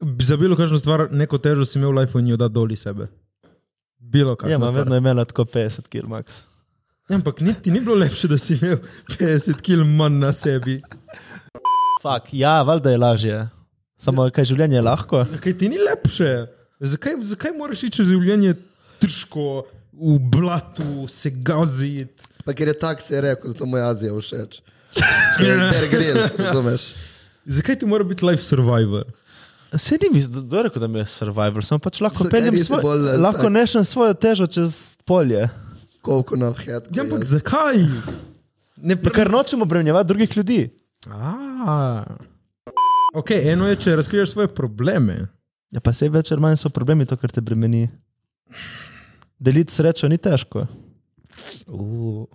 [SPEAKER 1] bi za bilo kakšno stvar, neko težo si imel v lifeu in jo da dol iz sebe. Bilo
[SPEAKER 5] Ja,
[SPEAKER 1] kakšno.
[SPEAKER 5] imam
[SPEAKER 1] stvar.
[SPEAKER 5] vedno imela tako 50 kg max.
[SPEAKER 1] Ja, ampak niti ni bilo lepše, da si imel 50 kg manj na sebi.
[SPEAKER 5] Fak, ja, valjda je lažje. Samo kaj življenje je lahko.
[SPEAKER 1] Ja, Kaj ti ni lepše? Zakaj, zakaj moraš iti čez življenje težko, v blatu, se gaziti?
[SPEAKER 4] Pa ker je tak se je rekel, zato mu je Azija všeč. Ker greš, razumeš?
[SPEAKER 1] Zakaj ti mora biti life survivor?
[SPEAKER 5] Sedim iz Doreka, da mi je survival, sem pač lahko
[SPEAKER 4] Zakaj
[SPEAKER 5] peljem
[SPEAKER 4] nisi
[SPEAKER 5] svoj,
[SPEAKER 4] bolj, eh,
[SPEAKER 5] lahko
[SPEAKER 4] tak?
[SPEAKER 5] nešem svojo težo čez polje.
[SPEAKER 4] Koliko na head.
[SPEAKER 1] Ja, ampak zakaj? Ne,
[SPEAKER 5] Ja, Ker nočem obremenjevati drugih ljudi.
[SPEAKER 1] A. Ok, eno je, če razkriješ svoje probleme.
[SPEAKER 5] Ja, pa se večer manj so problemi, to, kar te bremeni. Deliti srečo ni težko.
[SPEAKER 1] Uh,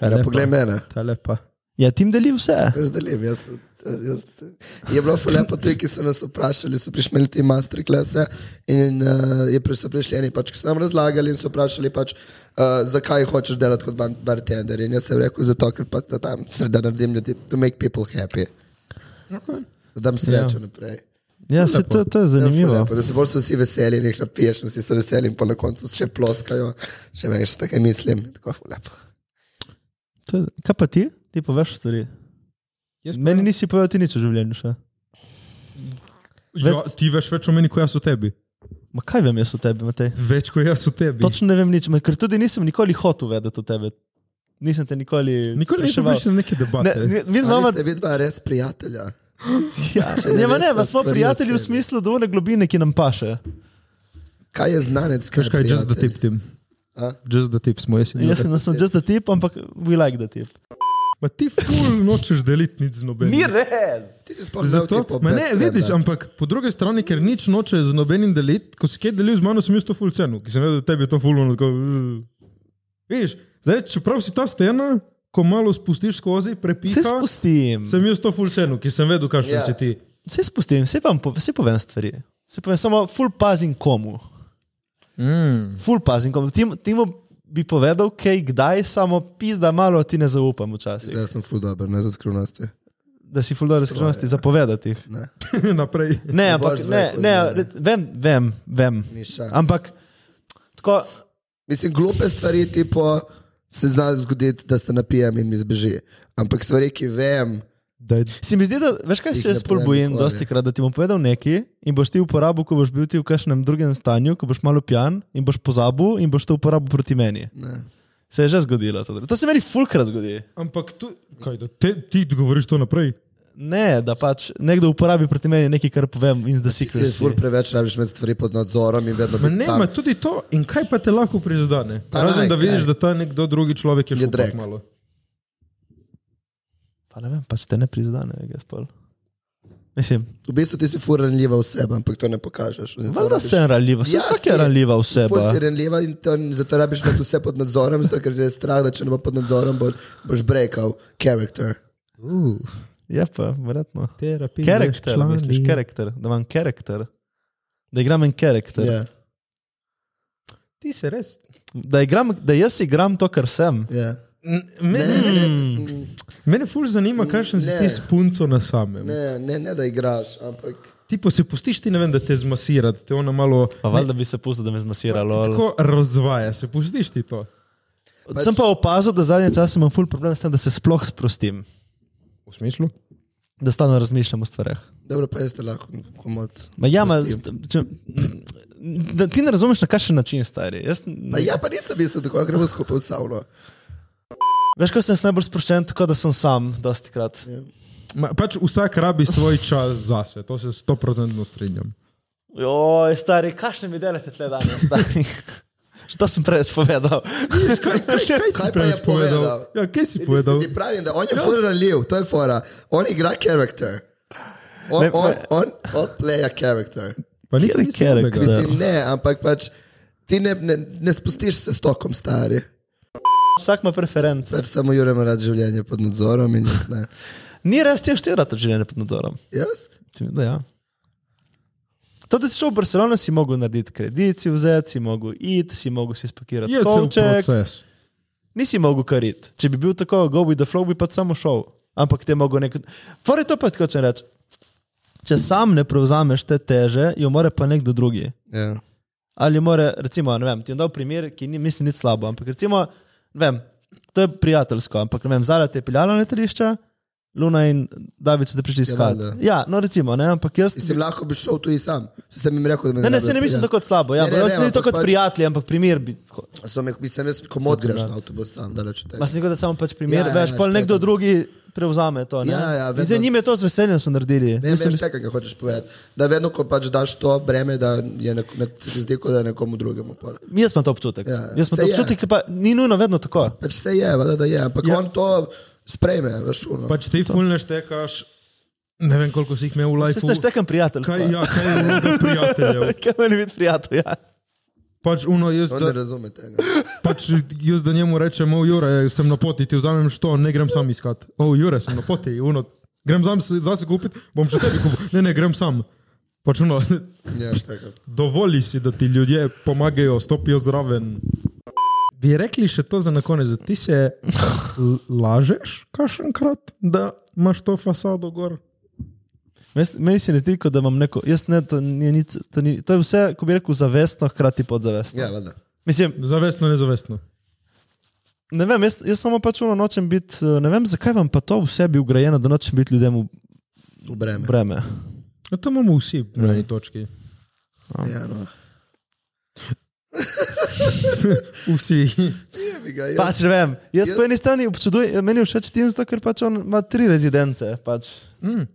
[SPEAKER 4] Ja, poglej mene.
[SPEAKER 1] Ta je lepa.
[SPEAKER 5] Ja, tim deli vse.
[SPEAKER 4] Jaz delim, jaz, jaz, je bilo ful lepo, tudi ki so nas vprašali, so prišli ti masterklase in uh, je prišli, so prišli eni, pač, ki so nam razlagali in so vprašali, pač, uh, zakaj hočeš delati kot bar- bartender. In jaz sem rekel, zato ker pač da tam sreda naredim ljudi, to make people happy. Okay. Da dam srečo yeah. naprej.
[SPEAKER 5] Ja, se to, to je zanimivo.
[SPEAKER 4] Ja, ful lepo, da se bolj so vsi veseli, in jih napiješ, in vsi so veseli, in pa na koncu še ploskajo, še več, tako mislim. Tako ful lepo.
[SPEAKER 5] To je, kaj pa ti? Ti poveš stvari.
[SPEAKER 1] Jaz pa-
[SPEAKER 5] Meni nisi povedal ti nič v življenju še.
[SPEAKER 1] Ja, ti veš več o meni, kot jaz o tebi.
[SPEAKER 5] Ma kaj vem jaz o tebi, Matej?
[SPEAKER 1] Več kot jaz o tebi.
[SPEAKER 5] Točno ne vem nič, ma ker tudi nisem nikoli hotel vedeti o tebi. Nisem te nikoli.
[SPEAKER 1] Nikoli nisem prišel
[SPEAKER 5] spraševal.
[SPEAKER 1] na neke
[SPEAKER 5] Ne,
[SPEAKER 1] debate.
[SPEAKER 5] ne, mi
[SPEAKER 4] Ali
[SPEAKER 5] imamo
[SPEAKER 4] ste vidva res prijatelja?
[SPEAKER 5] Ja,
[SPEAKER 4] Če ne
[SPEAKER 5] ne, ma
[SPEAKER 4] veste
[SPEAKER 5] ne, pa smo
[SPEAKER 4] stvari No, o
[SPEAKER 5] prijatelji v
[SPEAKER 4] sebi.
[SPEAKER 5] smislu dolne globine, ki nam paše.
[SPEAKER 4] Kaj je znanec?
[SPEAKER 1] Veš kaj, just da
[SPEAKER 4] prijatelj?
[SPEAKER 1] tiptim.
[SPEAKER 4] A?
[SPEAKER 1] Just da tip smo, jaz in
[SPEAKER 5] Jaz sem,
[SPEAKER 1] Jure.
[SPEAKER 5] da sem just the tip, ampak we like the tip.
[SPEAKER 1] Ma ti ful nočeš deliti nič z nobenim.
[SPEAKER 5] res!
[SPEAKER 4] Ti si sploh znal
[SPEAKER 1] Zato,
[SPEAKER 4] tipo
[SPEAKER 1] ma
[SPEAKER 4] best
[SPEAKER 1] ne,
[SPEAKER 4] frienda.
[SPEAKER 1] vidiš, ampak po drugi strani, ker nič noče z nobenim deliti, ko si kaj delil z mano, sem jaz to ful cenu, ki sem vedel, da tebi je to ful ono. tako, "Uh." Vidiš, zdaj, čeprav si ta stena, ko malo spustiš skozi,
[SPEAKER 5] Se
[SPEAKER 1] prepiha,
[SPEAKER 5] spustim,
[SPEAKER 1] sem jaz to ful cenu, ki sem vedel, kakšen
[SPEAKER 4] Ja.
[SPEAKER 1] si ti.
[SPEAKER 5] se spustim, se vam po, se povem stvari. Se povem, samo full pazim komu.
[SPEAKER 1] Mm.
[SPEAKER 5] Full pazim komu. Tim, timu bi povedal, kaj, kdaj, samo pizda malo ti ne zaupam včasih.
[SPEAKER 4] Zdaj sem ful dober, ne za skrivnosti.
[SPEAKER 5] Da si full dobro skrivnosti, zapovedati jih.
[SPEAKER 4] Ne.
[SPEAKER 1] Naprej.
[SPEAKER 5] Ne,
[SPEAKER 4] ja. Ne
[SPEAKER 5] ampak
[SPEAKER 4] boš
[SPEAKER 5] ne,
[SPEAKER 4] rekel,
[SPEAKER 5] ne,
[SPEAKER 4] ne, ne.
[SPEAKER 5] vem, vem, vem.
[SPEAKER 4] Ni šans.
[SPEAKER 5] Ampak tako,
[SPEAKER 4] Mislim, glupe stvari, tipo, se zna zgoditi, da se napijem in mi zbeži. Ampak stvari, ki vem,
[SPEAKER 5] Se mi zdi, da veš, kaj
[SPEAKER 4] Jih
[SPEAKER 5] se
[SPEAKER 4] ne
[SPEAKER 5] jaz bolj
[SPEAKER 4] povem
[SPEAKER 5] bojim,
[SPEAKER 4] nikoli. ja.
[SPEAKER 5] dosti krat, da ti bom povedal nekaj in boš ti uporabil, ko boš bil ti v kakšnem drugem stanju, ko boš malo pijan in boš pozabil in boš to uporabil proti meni.
[SPEAKER 4] ne.
[SPEAKER 5] Se je že zgodilo. To, to se meni fulkrat zgodi.
[SPEAKER 1] Ampak tu, kaj, da te, ti govoriš to naprej.
[SPEAKER 5] Ne, da pač nekdo uporabi proti meni nekaj, kar povem in da si
[SPEAKER 4] Ti si ful
[SPEAKER 5] kriv.
[SPEAKER 4] preveč rabiš imeti stvari pod nadzorom in vedno
[SPEAKER 1] Ma ne,
[SPEAKER 4] biti
[SPEAKER 1] ima
[SPEAKER 4] tam.
[SPEAKER 1] tudi to. In kaj pa te lahko prizadene?
[SPEAKER 4] Pa
[SPEAKER 1] Razen
[SPEAKER 4] naj,
[SPEAKER 1] da vidiš,
[SPEAKER 4] kaj.
[SPEAKER 1] da ta nekdo drugi človek je
[SPEAKER 4] Je
[SPEAKER 1] šel
[SPEAKER 4] drag.
[SPEAKER 1] tako malo.
[SPEAKER 5] Pa ne vem, pač te ne priznane, jaz pol. Mislim,
[SPEAKER 4] V bistvu ti si ful ranljiva oseba, ampak to ne pokažeš. Zato
[SPEAKER 5] valjda
[SPEAKER 4] rabiš-
[SPEAKER 5] sem ranljiva, ja, vsak je
[SPEAKER 4] si.
[SPEAKER 5] ranljiva
[SPEAKER 4] Ful si
[SPEAKER 5] oseba.
[SPEAKER 4] ranljiva in to, zato rabiš imeti vse pod nadzorom, zato ker je strah, da če ne bo pod nadzorom, boš, boš breakal karakter.
[SPEAKER 1] Uh,
[SPEAKER 5] Je pa, verjetno.
[SPEAKER 1] terapija.
[SPEAKER 5] Karakter, misliš, karakter, da imam karakter. Da igram en karakter.
[SPEAKER 4] Ja,
[SPEAKER 1] Ti se res.
[SPEAKER 5] da, igram, da jaz igram to, kar sem.
[SPEAKER 4] ja. Ne,
[SPEAKER 1] Mene,
[SPEAKER 4] ne, ne,
[SPEAKER 1] mene ful zanima, kakšen si
[SPEAKER 4] Ne.
[SPEAKER 1] ti s punco na samem.
[SPEAKER 4] ne, ne, ne, da igraš, ampak
[SPEAKER 1] Ti pa se pustiš, ti ne vem, da te zmasira, da te ona malo
[SPEAKER 5] Pa valjda bi se pustil, da me zmasiralo.
[SPEAKER 1] tako razvaja. Se pustiš ti to.
[SPEAKER 5] Pač... Sem pa opazil, da zadnje čase imam ful problem s tem, da se sploh sprostim,
[SPEAKER 1] V smislu?
[SPEAKER 5] da stalno razmišljam o stvareh.
[SPEAKER 4] dobro pa jeste lahko komod.
[SPEAKER 5] Ma ja, ma, st- če, da, ti ne razumeš, na kakšen način stari. Jaz,
[SPEAKER 4] Ma ja, pa nisem mislil, tako da gremo skupaj v savno.
[SPEAKER 5] Veš, ko sem jaz najbolj sproščen, tako da sem sam, dosti krat.
[SPEAKER 1] Ma, pač vsak rabi svoj čas zase, to se stoprocentno strinjam.
[SPEAKER 5] Joj, stari, kakšne mi delate tle danes, stari. Što sem prej povedal?
[SPEAKER 1] Kaj, kaj, kaj si
[SPEAKER 4] Kaj pa
[SPEAKER 1] preveč
[SPEAKER 4] je povedal?
[SPEAKER 1] Ja, kaj si povedal?
[SPEAKER 4] Ti pravim, da on je ful ranljiv, to je fora. On igra karakter. On,
[SPEAKER 5] Ne,
[SPEAKER 4] on,
[SPEAKER 5] pa-
[SPEAKER 4] on, on playa karakter.
[SPEAKER 1] Pa ni
[SPEAKER 5] Kjer je karakter?
[SPEAKER 1] karakter.
[SPEAKER 4] Mislim, ne, ampak pač ti ne, ne, ne spustiš se s tokom stari.
[SPEAKER 5] Vsak ima preference.
[SPEAKER 4] Pač samo jurem rad življenje pod nadzorom in jaz ne.
[SPEAKER 5] Ni res, ti je štirata življenje pod nadzorom.
[SPEAKER 4] Jaz?
[SPEAKER 5] Se mi Da, ja. To, da si šel v Barcelono, si mogel narediti kredit, si vzeti, si mogel iti, si mogel si spakirati
[SPEAKER 1] Je Ja, cel
[SPEAKER 5] kovček,
[SPEAKER 1] proces.
[SPEAKER 5] nisi mogel kariti. Če bi bil tako, go with the flow, bi pa samo šel. Ampak te mogo nek. Fore to pa tako če reči. Če sam ne prevzameš te teže, jo mora pa nekdo drugi.
[SPEAKER 4] Ja.
[SPEAKER 5] Ali mora, recimo, ne vem, ti je dal primer, ki ni, mislim, ni slabo, ampak recimo, ne vem, to je prijateljsko, ampak ne vem, Zara te je peljala na terišče, Luna in David so te prišli iskat.
[SPEAKER 4] valjda.
[SPEAKER 5] Ja, no recimo, ne, ampak jaz.
[SPEAKER 4] Mislim, lahko bi šel tudi sam. Se sem jim rekel, da me
[SPEAKER 5] Ne, ne,
[SPEAKER 4] rabijo
[SPEAKER 5] se ne mislim
[SPEAKER 4] peljati.
[SPEAKER 5] tako kot slabo. Ja,
[SPEAKER 4] Ne, ne, ne,
[SPEAKER 5] ne, ne, to
[SPEAKER 4] ampak
[SPEAKER 5] kot
[SPEAKER 4] pač-
[SPEAKER 5] prijatelji, ampak Ja. primer bi. tako.
[SPEAKER 4] So me, mislim, jaz komod greš na avtobus sam, daleč od tega.
[SPEAKER 5] Ma se nikoli samo pač primer,
[SPEAKER 4] Ja, ja,
[SPEAKER 5] veš,
[SPEAKER 4] ja,
[SPEAKER 5] pol
[SPEAKER 4] štekam.
[SPEAKER 5] nekdo drugi prevzame to. Ne?
[SPEAKER 4] Ja, ja,
[SPEAKER 5] In
[SPEAKER 4] vedno-
[SPEAKER 5] Zdaj njim je to z veseljem so naredili.
[SPEAKER 4] Ne,
[SPEAKER 5] Mislim,
[SPEAKER 4] veš, tega, kaj hočeš povedati. Da vedno, ko pač daš to breme, da je neko, ne, se ti zdi, kot da je nekomu drugemu. pol.
[SPEAKER 5] jaz imam to občutek.
[SPEAKER 4] Ja, ja,
[SPEAKER 5] jaz imam
[SPEAKER 4] saj
[SPEAKER 5] to
[SPEAKER 4] je.
[SPEAKER 5] občutek, ki pa ni nujno vedno tako.
[SPEAKER 4] Pač se je, vada, da je, ampak ja. on to sprejme, veš, uno.
[SPEAKER 1] Pač ti fulneš tekaš, ne vem koliko si jih imel v
[SPEAKER 5] Jaz ne
[SPEAKER 1] lifeu.
[SPEAKER 5] štekam prijateljstva.
[SPEAKER 1] Kaj, ja, kaj je vloga prijateljev?
[SPEAKER 5] Kaj meni biti prijatelj? Ja.
[SPEAKER 1] Pač uno, jaz,
[SPEAKER 4] On ne
[SPEAKER 1] da,
[SPEAKER 4] razume tega.
[SPEAKER 1] pač jaz da njemu rečem, o Jure, sem na poti, ti vzamem što, ne grem sam iskat. O Jure, sem na poti, uno, grem sam se- zase kupit, bom še tebi kupil. Ne, ne, grem sam. Pač uno,
[SPEAKER 4] Ja, štega.
[SPEAKER 1] dovoli si, da ti ljudje pomagajo, stopijo zraven. Bi rekli še to za na konec, da ti se l- lažeš, kašenkrat, da imaš to fasado gor.
[SPEAKER 5] Mes- Meni se ne zdi, kot da imam neko. Jaz ne, to, ni, nic, to, ni, to je vse, ko bi rekel, zavestno, hkrati podzavestno.
[SPEAKER 4] Ja, valjda.
[SPEAKER 5] Mislim,
[SPEAKER 1] Zavestno, nezavestno.
[SPEAKER 5] ne vem, jaz, jaz samo pač ono nočem biti, eh, ne vem, zakaj vam pa to v sebi ugrajeno, da nočem biti ljudem v
[SPEAKER 4] V breme.
[SPEAKER 5] breme.
[SPEAKER 1] Ja, to imamo vsi na eni točki.
[SPEAKER 4] Ja, no.
[SPEAKER 1] Vsi.
[SPEAKER 4] Jebi ga, jaz-
[SPEAKER 5] Pač ne vem, jaz, jaz
[SPEAKER 4] Jaz-
[SPEAKER 5] po eni strani občudujem, meni je všeč Tim, zato ker pač on ima tri rezidence. Pač.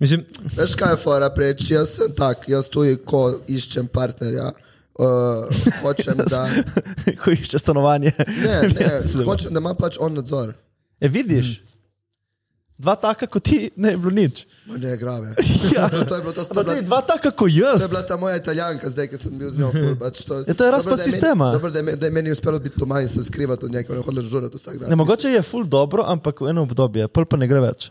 [SPEAKER 1] Mislim,
[SPEAKER 4] Veš kaj je fora preč, jaz sem tak, jaz tudi, ko iščem partnerja, uh, hočem, da,
[SPEAKER 5] ko išče stanovanje.
[SPEAKER 4] ne, ne,
[SPEAKER 5] Mislim.
[SPEAKER 4] hočem, da ima pač on nadzor.
[SPEAKER 5] E, vidiš, dva taka kot ti, ne je bilo nič.
[SPEAKER 4] Ma Ne, grave.
[SPEAKER 5] Ja.
[SPEAKER 4] To, to je bilo to
[SPEAKER 5] Ampak
[SPEAKER 4] stvar.
[SPEAKER 5] tudi dva taka kot
[SPEAKER 4] To je
[SPEAKER 5] jaz.
[SPEAKER 4] bila ta moja italijanka, zdaj, ki sem bil z njo. Ful, pač to,
[SPEAKER 5] Ja, to je razpad
[SPEAKER 4] Dobro, da meni-
[SPEAKER 5] sistema.
[SPEAKER 4] Dobro, da je, me- da je meni uspelo biti doma in se skrivati od njega, ne hodila žurati vsak dan.
[SPEAKER 5] Ne, mogoče je ful dobro, ampak v eno obdobje, pol pa ne gre več.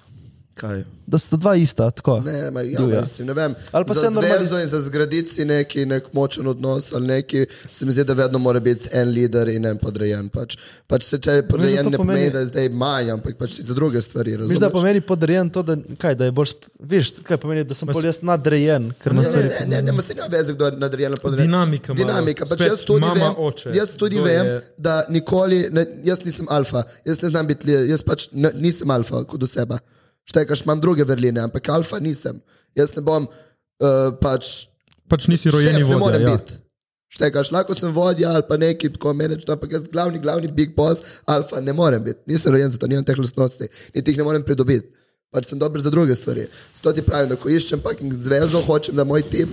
[SPEAKER 4] Kaj?
[SPEAKER 5] Da sta dva ista, tako.
[SPEAKER 4] Ne, ma, ja,
[SPEAKER 5] Divja.
[SPEAKER 4] ja. Mislim, ne vem.
[SPEAKER 5] Ali pa
[SPEAKER 4] za
[SPEAKER 5] se normaliz-
[SPEAKER 4] zvezo in za zgraditi si neki nek močen odnos ali neki, se mi zdi, da vedno mora biti en lider in en podrejen. Pač, pač se če je podrejen,
[SPEAKER 5] zato
[SPEAKER 4] ne
[SPEAKER 5] pomeni-
[SPEAKER 4] pomeni, da je zdaj manj, ampak pač si za druge stvari
[SPEAKER 5] Miš,
[SPEAKER 4] razumeš.
[SPEAKER 5] da pomeni podrejen to, da, kaj, da je bolj, sp- veš, kaj pomeni, da sem bolj jaz nadrejen, ker me
[SPEAKER 4] Ne,
[SPEAKER 5] stvari.
[SPEAKER 4] ne, ne, ne, ma se nima veze, kdo je nadrejen ali podrejen.
[SPEAKER 1] Dinamika malo.
[SPEAKER 4] Dinamika. Pač
[SPEAKER 1] Spet
[SPEAKER 4] jaz tudi
[SPEAKER 1] mama,
[SPEAKER 4] vem,
[SPEAKER 1] oče.
[SPEAKER 4] jaz tudi
[SPEAKER 1] To
[SPEAKER 4] vem
[SPEAKER 1] je-
[SPEAKER 4] da nikoli, ne, jaz nisem alfa, jaz ne znam biti, li- jaz pač ne, nisem alfa kot oseba. Štekaš, imam druge verline, ampak alfa nisem. Jaz ne bom uh, pač
[SPEAKER 1] pač nisi rojeni
[SPEAKER 4] šef, ne
[SPEAKER 1] vodja.
[SPEAKER 4] morem
[SPEAKER 1] Ja.
[SPEAKER 4] biti. Štekaš, lahko sem vodja ali pa neki tako menedžer, ampak jaz glavni, glavni big boss, alfa ne morem biti. Nisem rojen za to, nimam teh lastnosti, niti jih ne morem pridobiti. Pač sem dober za druge stvari. Zato ti pravim, da ko iščem fucking zvezo, hočem, da moj tip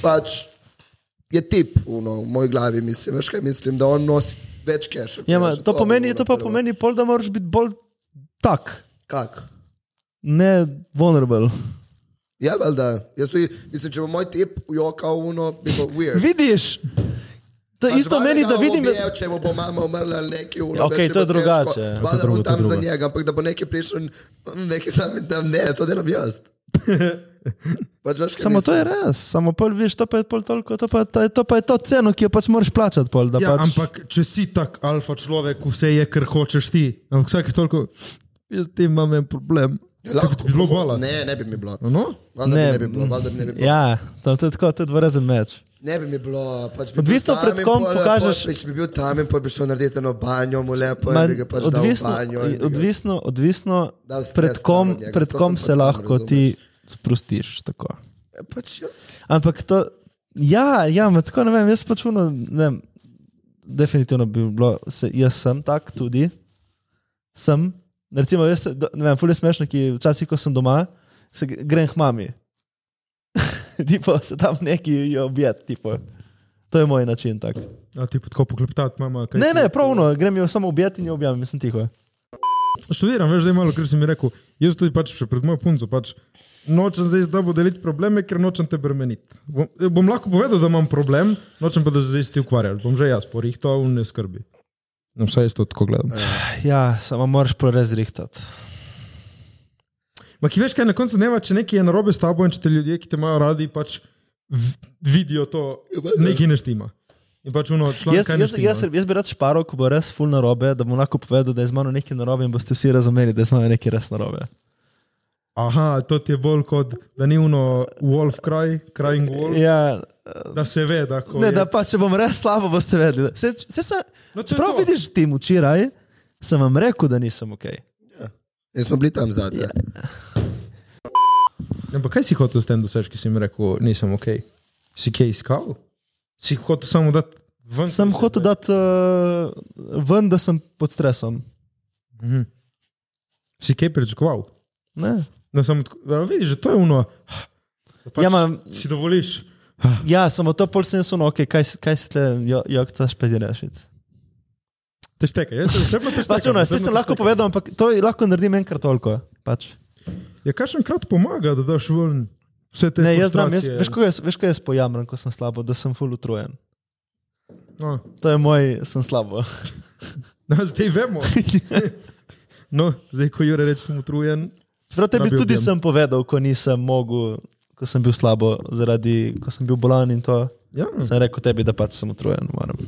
[SPEAKER 4] pač je tip uno, v moji glavi, mislim, veš kaj mislim, da on nosi več keša.
[SPEAKER 5] Ja, ma, to, pomeni, to pa pomeni pol, da moraš biti bolj tak,
[SPEAKER 4] Kak?
[SPEAKER 5] ne vulnerable.
[SPEAKER 4] Ja, valjda. Jaz tudi, mislim, če bo moj tip jokal uno, bi bilo weird.
[SPEAKER 5] Vidiš? To
[SPEAKER 4] Pač
[SPEAKER 5] isto meni, da
[SPEAKER 4] valjda ga
[SPEAKER 5] vidim.
[SPEAKER 4] Ubijel, če mu bo mama umrla ali neki ulo.
[SPEAKER 5] Ja, okej, to je drugače. Ja, to je
[SPEAKER 4] Vada
[SPEAKER 5] drugo, to
[SPEAKER 4] bo
[SPEAKER 5] je
[SPEAKER 4] tam za
[SPEAKER 5] drugo.
[SPEAKER 4] njega, ampak da bo neki prišel, in, "Mm, neki sam tam ne, to delam jaz. Pač veš, kaj
[SPEAKER 5] Samo to je
[SPEAKER 4] mislim.
[SPEAKER 5] res, samo pol veš, to pa je pol toliko, to pa je, ta- to pa je to ceno, ki jo pač moraš plačati. Pol, da
[SPEAKER 1] Ja,
[SPEAKER 5] pač,
[SPEAKER 1] ampak če si tak alfa človek, vse je, kar hočeš ti. Ampak vsake toliko, jaz ti imam en problem. Lahko ti bi bilo bala.
[SPEAKER 4] Ne, ne bi mi bilo.
[SPEAKER 1] No?
[SPEAKER 4] Valjda bi
[SPEAKER 5] Ne.
[SPEAKER 4] ne bi bilo, valjda bi ne bi bilo.
[SPEAKER 5] ja to, to je tako, to je dvorezen meč.
[SPEAKER 4] Ne bi mi bilo, pač bi
[SPEAKER 5] Odvisno,
[SPEAKER 4] bil
[SPEAKER 5] pred
[SPEAKER 4] tamen,
[SPEAKER 5] kom
[SPEAKER 4] pol-
[SPEAKER 5] pokažeš-
[SPEAKER 4] pol- Če bi bil tam in bi šel narediti eno banjo, mu lepo,
[SPEAKER 5] Ma,
[SPEAKER 4] in bi ga pač
[SPEAKER 5] odvisno,
[SPEAKER 4] dal v banjo. in bi ga-
[SPEAKER 5] odvisno, odvisno
[SPEAKER 4] Dal stres
[SPEAKER 5] pred kom,
[SPEAKER 4] tam od njega,
[SPEAKER 5] pred
[SPEAKER 4] to pač
[SPEAKER 5] kom
[SPEAKER 4] sem
[SPEAKER 5] se
[SPEAKER 4] pa tam
[SPEAKER 5] lahko
[SPEAKER 4] razumel.
[SPEAKER 5] ti sprostiš. Tako.
[SPEAKER 4] Ja, Pač jaz.
[SPEAKER 5] Ampak to, ja, ja ma, tako ne vem, jaz pač uno, ne vem, definitivno bi bilo, se, jaz sem tak tudi, sem. Recimo, jaz, se do- ne vem, fulje smešno, ki včasih, ko sem doma, se gre- grem k mami. tipo, se tam neki jo objet, tipo. To je moj način tak.
[SPEAKER 1] A ti pa tako pokleptati, mama. kaj
[SPEAKER 5] Ne,
[SPEAKER 1] ti-
[SPEAKER 5] ne, pravno, grem jo samo objet in jo objavim, mislim tiho.
[SPEAKER 1] Študiram, veš, zdaj malo, ker si mi rekel, jaz tudi pač še pred mojo punco, pač nočem zdaj z tabo deliti probleme, ker nočem te bremeniti. Bom, eh, bom lahko povedal, da imam problem, nočem pa, da se zdaj s ti ukvarjal. Bom že jaz porihtal in ne skrbi. Eh. No, vsaj jaz to tako gledam.
[SPEAKER 5] Ja, samo moraš prorez rihtati.
[SPEAKER 1] Ma ki veš, kaj na koncu dneva, če nekaj je narobe s tabo in če te ljudje, ki te imajo radi, pač v- vidijo to, nekaj ne štima. In pač uno, član,
[SPEAKER 5] Jaz,
[SPEAKER 1] kaj ne
[SPEAKER 5] jaz,
[SPEAKER 1] štima.
[SPEAKER 5] jaz, jaz bi rad šparil, ko bo res full narobe, da bom lahko povedal, da je z mano nekaj narobe in boste vsi razumeli, da je z mano nekaj res narobe.
[SPEAKER 1] Aha, to ti je bolj kot, da ni uno wolf cry, crying wolf,
[SPEAKER 5] Ja,
[SPEAKER 1] da se ve, da ko
[SPEAKER 5] ne,
[SPEAKER 1] je...
[SPEAKER 5] da pa če bom res slabo, boste vedeli. Se, se, se,
[SPEAKER 1] No, to je
[SPEAKER 5] čeprav
[SPEAKER 1] to.
[SPEAKER 5] vidiš tim včeraj, sem vam rekel, da nisem ok.
[SPEAKER 4] In smo bili tam zadnji.
[SPEAKER 5] Ja.
[SPEAKER 1] Ampak kaj si hotel s tem doseči, ki si mi rekel, nisem ok? Si kaj iskal? Si hotel samo dati ven?
[SPEAKER 5] Sem hotel dati uh, ven, da sem pod stresom.
[SPEAKER 1] Si kaj pričakoval?
[SPEAKER 5] Ne.
[SPEAKER 1] Da samo tako, da vidiš, da to je uno. da Pač
[SPEAKER 5] Ja, ma-
[SPEAKER 1] Si dovoliš.
[SPEAKER 5] Ja, samo to pol sem suno, okay, kaj, se- kaj se tle, jo, jo, caš pedi rešiti.
[SPEAKER 1] Te šteka, jaz se vse pa te šteka.
[SPEAKER 5] Pač, ono, vse sem lahko povedal, ampak to lahko naredim enkrat toliko. Pač.
[SPEAKER 1] Ja, kakšen krat pomaga, da daš ven vse te
[SPEAKER 5] Ne, jaz znam, jaz,
[SPEAKER 1] frustracije?
[SPEAKER 5] veš, kaj jaz, veš, kaj jaz pojamem, ko sem slabo, da sem full utrujen.
[SPEAKER 1] No,
[SPEAKER 5] To je moj, sem slabo.
[SPEAKER 1] no, zdaj vemo. No, zdaj, ko Jure reče, sem utrujen,
[SPEAKER 5] Prav tebi
[SPEAKER 1] Rabi
[SPEAKER 5] tudi
[SPEAKER 1] objem.
[SPEAKER 5] sem povedal, ko nisem mogel, ko sem bil slabo, zaradi, ko sem bil bolan in to.
[SPEAKER 1] ja,
[SPEAKER 5] Sem rekel tebi, da pač sem utrujen. Moram.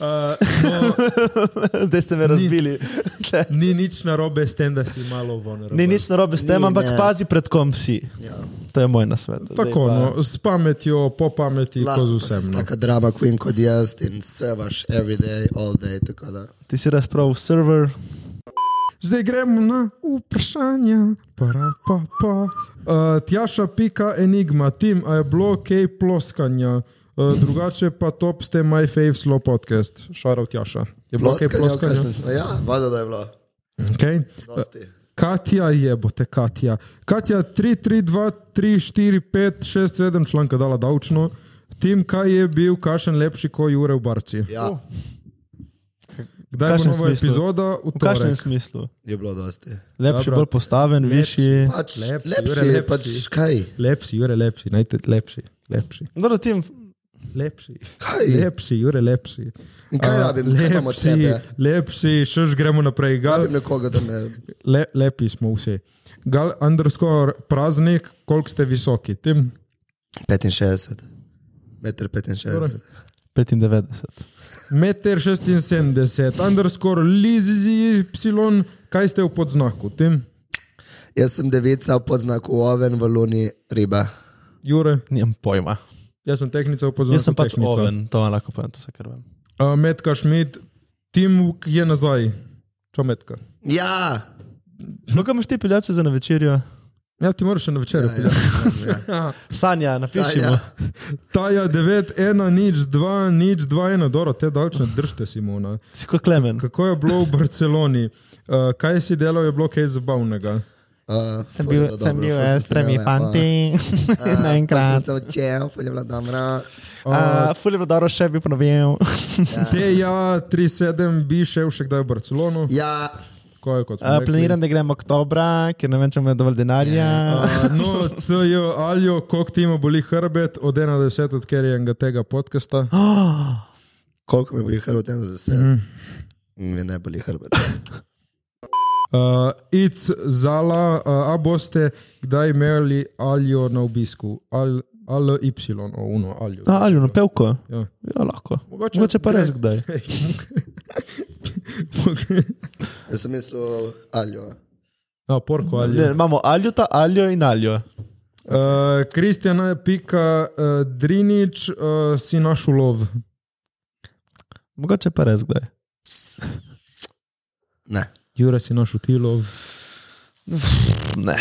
[SPEAKER 1] Uh, no,
[SPEAKER 5] Zdaj ste me razbili. Tle.
[SPEAKER 1] ni nič narobe s tem, da si malo vulnerable.
[SPEAKER 5] Ni nič narobe s tem,
[SPEAKER 4] Ni,
[SPEAKER 5] ampak
[SPEAKER 4] ne.
[SPEAKER 5] pazi, pred kom si.
[SPEAKER 4] Ja.
[SPEAKER 5] To je moj nasvet. Zdaj
[SPEAKER 1] Tako,
[SPEAKER 5] pa-
[SPEAKER 1] no, s pametjo, po pameti, kot z
[SPEAKER 4] Lahko
[SPEAKER 1] vsem.
[SPEAKER 4] si
[SPEAKER 1] No.
[SPEAKER 4] taka drama queen kot jaz in servaš every day, all day, tako da.
[SPEAKER 5] Ti si razpravil server,
[SPEAKER 1] Zdaj gremo na vprašanja. Para, pa, pa. Uh, tjaša, pika, enigma, tim, a je bilo kaj ploskanja. Uh, drugače pa top ste my fave slow podcast, šarov tjaša. Je bilo kaj ploskanja?
[SPEAKER 4] Ploskanje, kakšno smo- Ja, vada da je bilo.
[SPEAKER 1] Okay.
[SPEAKER 4] Dosti.
[SPEAKER 1] Katja je, bote Katja. Katja 3, 3, 2, 3, 4, 5, 6, 7 članka dala davčno. Tim, kaj je bil, kakšen lepši, ko Jure v Barci?
[SPEAKER 4] Ja,
[SPEAKER 1] Kdaj bo
[SPEAKER 5] kakšnem
[SPEAKER 1] nova
[SPEAKER 5] smislu?
[SPEAKER 1] epizoda? V
[SPEAKER 5] v kakšnem
[SPEAKER 1] torek.
[SPEAKER 5] smislu?
[SPEAKER 4] je bilo dosti.
[SPEAKER 5] Lepši,
[SPEAKER 1] Dobro.
[SPEAKER 5] bolj postaven, višji.
[SPEAKER 4] Pač
[SPEAKER 1] Lepši,
[SPEAKER 4] lepši,
[SPEAKER 1] Jure,
[SPEAKER 4] lepši,
[SPEAKER 1] lepši.
[SPEAKER 4] pač kaj.
[SPEAKER 1] Lepši, Jure, lepši, najte lepši, lepši,
[SPEAKER 5] Dobro, tim,
[SPEAKER 1] lepši.
[SPEAKER 4] Kaj?
[SPEAKER 1] Lepši, Jure, lepši.
[SPEAKER 4] In kaj
[SPEAKER 1] A,
[SPEAKER 4] rabim? Kaj imam od tebe?
[SPEAKER 1] lepši, še že gremo naprej. Gal,
[SPEAKER 4] Rabim nekoga, da me
[SPEAKER 1] le, lepi smo vsi. Gal, underscore praznik, koliko ste visoki? Tim,
[SPEAKER 4] 65. Meter 65.
[SPEAKER 5] 95.
[SPEAKER 1] 1,76 m, underscore lizi, y, kaj ste v podznaku? Tim,
[SPEAKER 4] Jaz sem devica pod znakom oven, v luni riba.
[SPEAKER 1] Jure,
[SPEAKER 5] Nimam pojma.
[SPEAKER 1] jaz sem tehnica v podznaku.
[SPEAKER 5] Jaz sem pač
[SPEAKER 1] No, tehnica.
[SPEAKER 5] oven, to vam lahko povem, to se kar vem.
[SPEAKER 1] A, Metka Šmit, Tim je nazaj. Čo metka?
[SPEAKER 4] Ja!
[SPEAKER 5] Koga imaš ti piljače za na večerjo?
[SPEAKER 1] Ja, ti moraš še na večer.
[SPEAKER 4] ja, ja, ja.
[SPEAKER 5] Sanja, napišimo.
[SPEAKER 4] Sanja.
[SPEAKER 5] Sanja.
[SPEAKER 1] Taja 9, 1, nič, 2, nič, 2, 1, dobro, te davčne držite, Simona.
[SPEAKER 5] Si kot Klemen.
[SPEAKER 1] Kako je bilo v Barceloni? Uh, kaj si delal, je bilo kaj zabavnega?
[SPEAKER 4] Uh,
[SPEAKER 6] Sem bil, sem bil eh, s tremi
[SPEAKER 5] ja,
[SPEAKER 6] fanti Eh, naenkrat.
[SPEAKER 4] Sem učel, fulje bila dobra.
[SPEAKER 5] Eh,
[SPEAKER 6] Uh, Fully Rodoro še bi ponovil.
[SPEAKER 1] Te ja, 3-7 bi šel še kdaj v Barcelono.
[SPEAKER 4] Ja,
[SPEAKER 1] Ko je kot
[SPEAKER 5] Eh,
[SPEAKER 1] smo
[SPEAKER 6] Uh,
[SPEAKER 1] rekli.
[SPEAKER 6] planiram, da grem oktobra, ker ne vem, če imam dovolj denarja.
[SPEAKER 1] Uh, no, CJ, alijo, koliko ti ima boli hrbet, od 1 do 10, odker je enega tega podcasta.
[SPEAKER 4] koliko mi boli hrbet, eno za sedem. Mm. Mi ne boli hrbet.
[SPEAKER 1] Uh, It's zala, uh, a boste kdaj imeli alijo na obisku? Al, al Y, o uno, alijo.
[SPEAKER 5] A, ali na pevko?
[SPEAKER 1] Ja.
[SPEAKER 5] Ja, lahko.
[SPEAKER 1] Mogoče-
[SPEAKER 5] Mogoče, Mogoče pa res kdaj.
[SPEAKER 4] Jaz sem mislil, aljo.
[SPEAKER 1] A, No, porko
[SPEAKER 5] Ne,
[SPEAKER 1] alijo.
[SPEAKER 5] imamo aljuta, aljo in aljo.
[SPEAKER 1] Uh, Kristjana, pika, uh, Drinič, uh, si naš ulov.
[SPEAKER 5] Mogoče pa res kdaj.
[SPEAKER 4] Ne.
[SPEAKER 1] Jure, si naš utilov.
[SPEAKER 5] Ne.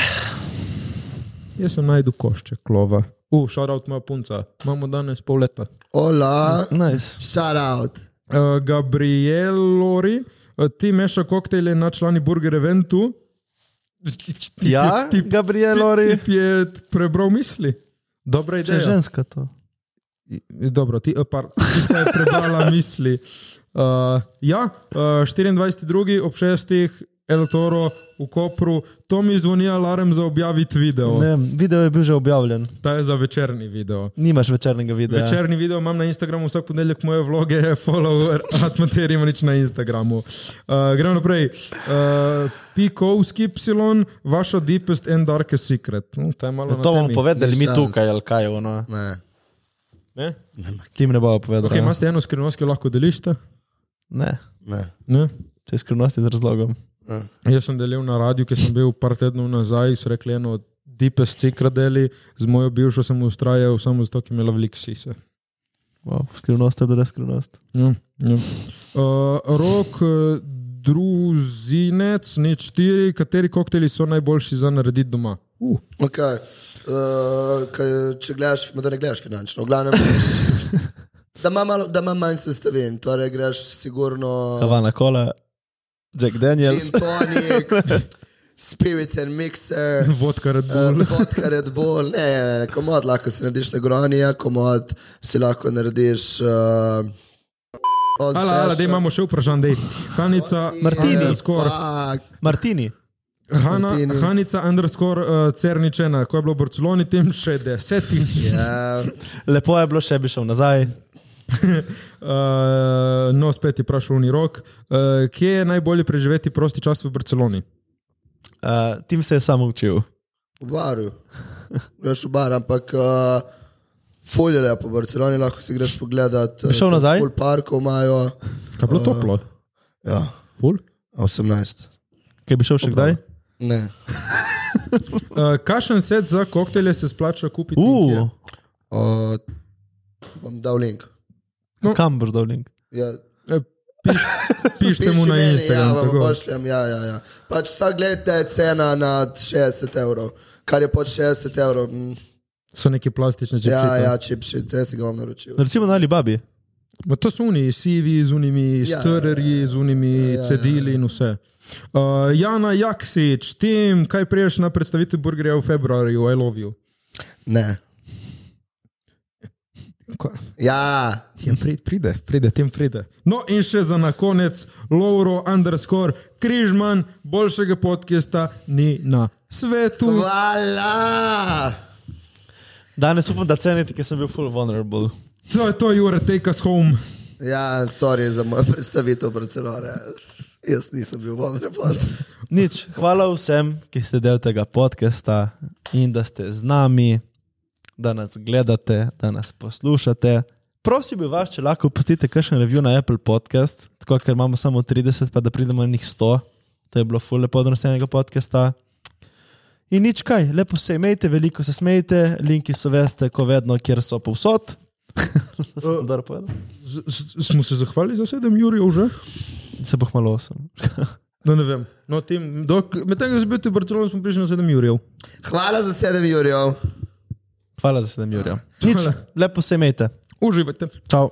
[SPEAKER 1] Jaz sem najdu košče, klova. U, uh, šarout moja punca. Imamo danes pol leta.
[SPEAKER 4] Ola,
[SPEAKER 5] Nice.
[SPEAKER 4] shout out.
[SPEAKER 1] Uh, Gabriel Lori, uh, ti meša koktejle na člani Burger Eventu.
[SPEAKER 5] Ja,
[SPEAKER 1] tip, tip,
[SPEAKER 5] Gabriel Lori.
[SPEAKER 1] tip je prebral misli. Dobra
[SPEAKER 5] Če je
[SPEAKER 1] ideja.
[SPEAKER 5] ženska to.
[SPEAKER 1] Dobro, ti eh, par, ptica je prebrala misli. Uh, ja, uh, 24.2. ob 6. El Toro v Kopru, to mi zvoni alarm za objaviti video.
[SPEAKER 5] Ne vem, video je bil že objavljen.
[SPEAKER 1] Ta je za večerni video.
[SPEAKER 5] Nimaš večernega videa.
[SPEAKER 1] Večerni video imam na Instagramu, vsak ponedeljek moje vloge, follower, atmateri ima nič na Instagramu. Uh, gremo naprej. Uh, Pikovski psilon, vaša deepest and darkest secret. No, to je malo na
[SPEAKER 5] Ja, To bomo
[SPEAKER 1] temi.
[SPEAKER 5] povedali
[SPEAKER 4] Ni
[SPEAKER 5] mi
[SPEAKER 4] šans.
[SPEAKER 5] tukaj, ali kaj je ono.
[SPEAKER 4] Ne.
[SPEAKER 5] Ne? Kim ne bomo povedali.
[SPEAKER 1] Okay, imate eno skrivnost, ki jo lahko delite?
[SPEAKER 5] Ne,
[SPEAKER 4] ne.
[SPEAKER 1] Ne?
[SPEAKER 5] če je skrivnosti z razlogom.
[SPEAKER 1] Jaz sem delil na radiju, ki sem bil par tednov nazaj, so rekli eno od deepest secret deli, z mojo bivšo sem ustrajal samo zato, ker je imela veliko sise.
[SPEAKER 5] Wow, skrivnost je bila skrivnost.
[SPEAKER 1] Ja, ja. Uh, rok, eh, druzinec, nič štiri, kateri koktejli so najboljši za narediti doma. Uh,
[SPEAKER 4] Okay. Uh, kaj, če gledaš, da ne gledaš finančno, v glavnem. Da ima, malo, da ima manj sestavin, torej greš
[SPEAKER 5] Ja.
[SPEAKER 4] sigurno
[SPEAKER 5] Havana kola, Jack Daniels.
[SPEAKER 4] gin tonic, spirit and mixer,
[SPEAKER 1] vodka Red Bull.
[SPEAKER 4] eh, vodka Red Bull, ne, ne, ne, komod lahko si narediš na gronija, komod si lahko narediš. Uh,
[SPEAKER 1] Ala, ala, da imamo še vprašanje, da je Hanica,
[SPEAKER 5] Martini.
[SPEAKER 4] eh,
[SPEAKER 1] underscore,
[SPEAKER 5] Martini.
[SPEAKER 1] Hana,
[SPEAKER 4] Martini.
[SPEAKER 1] Hanica, underscore, uh, Cerničena, ko je bilo v Barceloni, tem še desetič.
[SPEAKER 4] Ja,
[SPEAKER 5] Lepo je bilo, še bi šel nazaj.
[SPEAKER 1] Uh, no, spet je vprašal Uni Rok, uh, kje je najbolje preživeti prosti čas v Barceloni?
[SPEAKER 5] Uh, tim se je samo učil.
[SPEAKER 4] v baru. Greš v bar, ampak uh, Fulje lepo, v Barceloni lahko si greš pogledat. eh,
[SPEAKER 5] Bi šel nazaj?
[SPEAKER 4] Pol parkov imajo,
[SPEAKER 1] Kaj je
[SPEAKER 4] Eh,
[SPEAKER 1] bilo toplo?
[SPEAKER 4] ja,
[SPEAKER 1] Ful?
[SPEAKER 4] 18.
[SPEAKER 5] Kaj bi šel še kdaj?
[SPEAKER 4] Ne.
[SPEAKER 1] Uh, kašen set za koktelje se splača kupiti. in kje?
[SPEAKER 5] Uh,
[SPEAKER 4] O, bom dal link.
[SPEAKER 1] No.
[SPEAKER 5] kam boš dal link?
[SPEAKER 4] Ja,
[SPEAKER 1] Eh, Pišite mu
[SPEAKER 4] Piši
[SPEAKER 1] na
[SPEAKER 4] meni,
[SPEAKER 1] Instagram.
[SPEAKER 4] Ja, vam
[SPEAKER 1] tako.
[SPEAKER 4] pošljem, ja, ja, ja. Pač vsak gledajte je cena nad 60 evrov, kar je pod 60 evrov. Mm.
[SPEAKER 1] so neke plastične čepčice.
[SPEAKER 4] Ja, ja, čipši, vse si ga vam naročil.
[SPEAKER 5] Recimo na Alibabi.
[SPEAKER 1] Ma to so oni, sivi z unimi
[SPEAKER 4] ja,
[SPEAKER 1] štrerji, z unimi cedili in vse. Uh, Jana Jaksič, tem, kaj prejš na predstavitvi burgerja v februarju, I love you.
[SPEAKER 4] Ne.
[SPEAKER 1] Ko-
[SPEAKER 4] Ja,
[SPEAKER 1] Tem pride, pride, pride, tem pride. No in še za na konec, Lauro underscore Križman, boljšega podcasta ni na svetu.
[SPEAKER 4] hvala.
[SPEAKER 5] Danes upam, da cenite, ker sem bil full vulnerable.
[SPEAKER 1] To je to, Jure, take us home.
[SPEAKER 4] Ja, sorry za mojo predstavitev Barcelone. Jaz nisem bil vulnerable.
[SPEAKER 5] Nič, hvala vsem, ki ste del tega podcasta in da ste z nami, da nas gledate, da nas poslušate. Prosim bi vas, če lahko pustite kakšen review na Apple podcast, tako ker imamo samo 30, pa da pridemo na njih 100. To je bilo ful lepo od naslednjega podcasta. In nič kaj, lepo se imejte, veliko se smejte, linki so veste, ko vedno, kjer so povsod. To sem dobro povedal.
[SPEAKER 1] Z, z, smo se zahvalili za sedem Jurijev že?
[SPEAKER 5] Se bo hmalo osem.
[SPEAKER 1] No, ne vem. No, tem, dok, medtem, ko sem bil v Barceloni, smo prišli na sedem Jurijev.
[SPEAKER 4] Hvala za 7 jurjev.
[SPEAKER 5] Hvala za sedem, Jurija. Nič, lepo se imejte.
[SPEAKER 1] Uživajte.
[SPEAKER 5] Čau.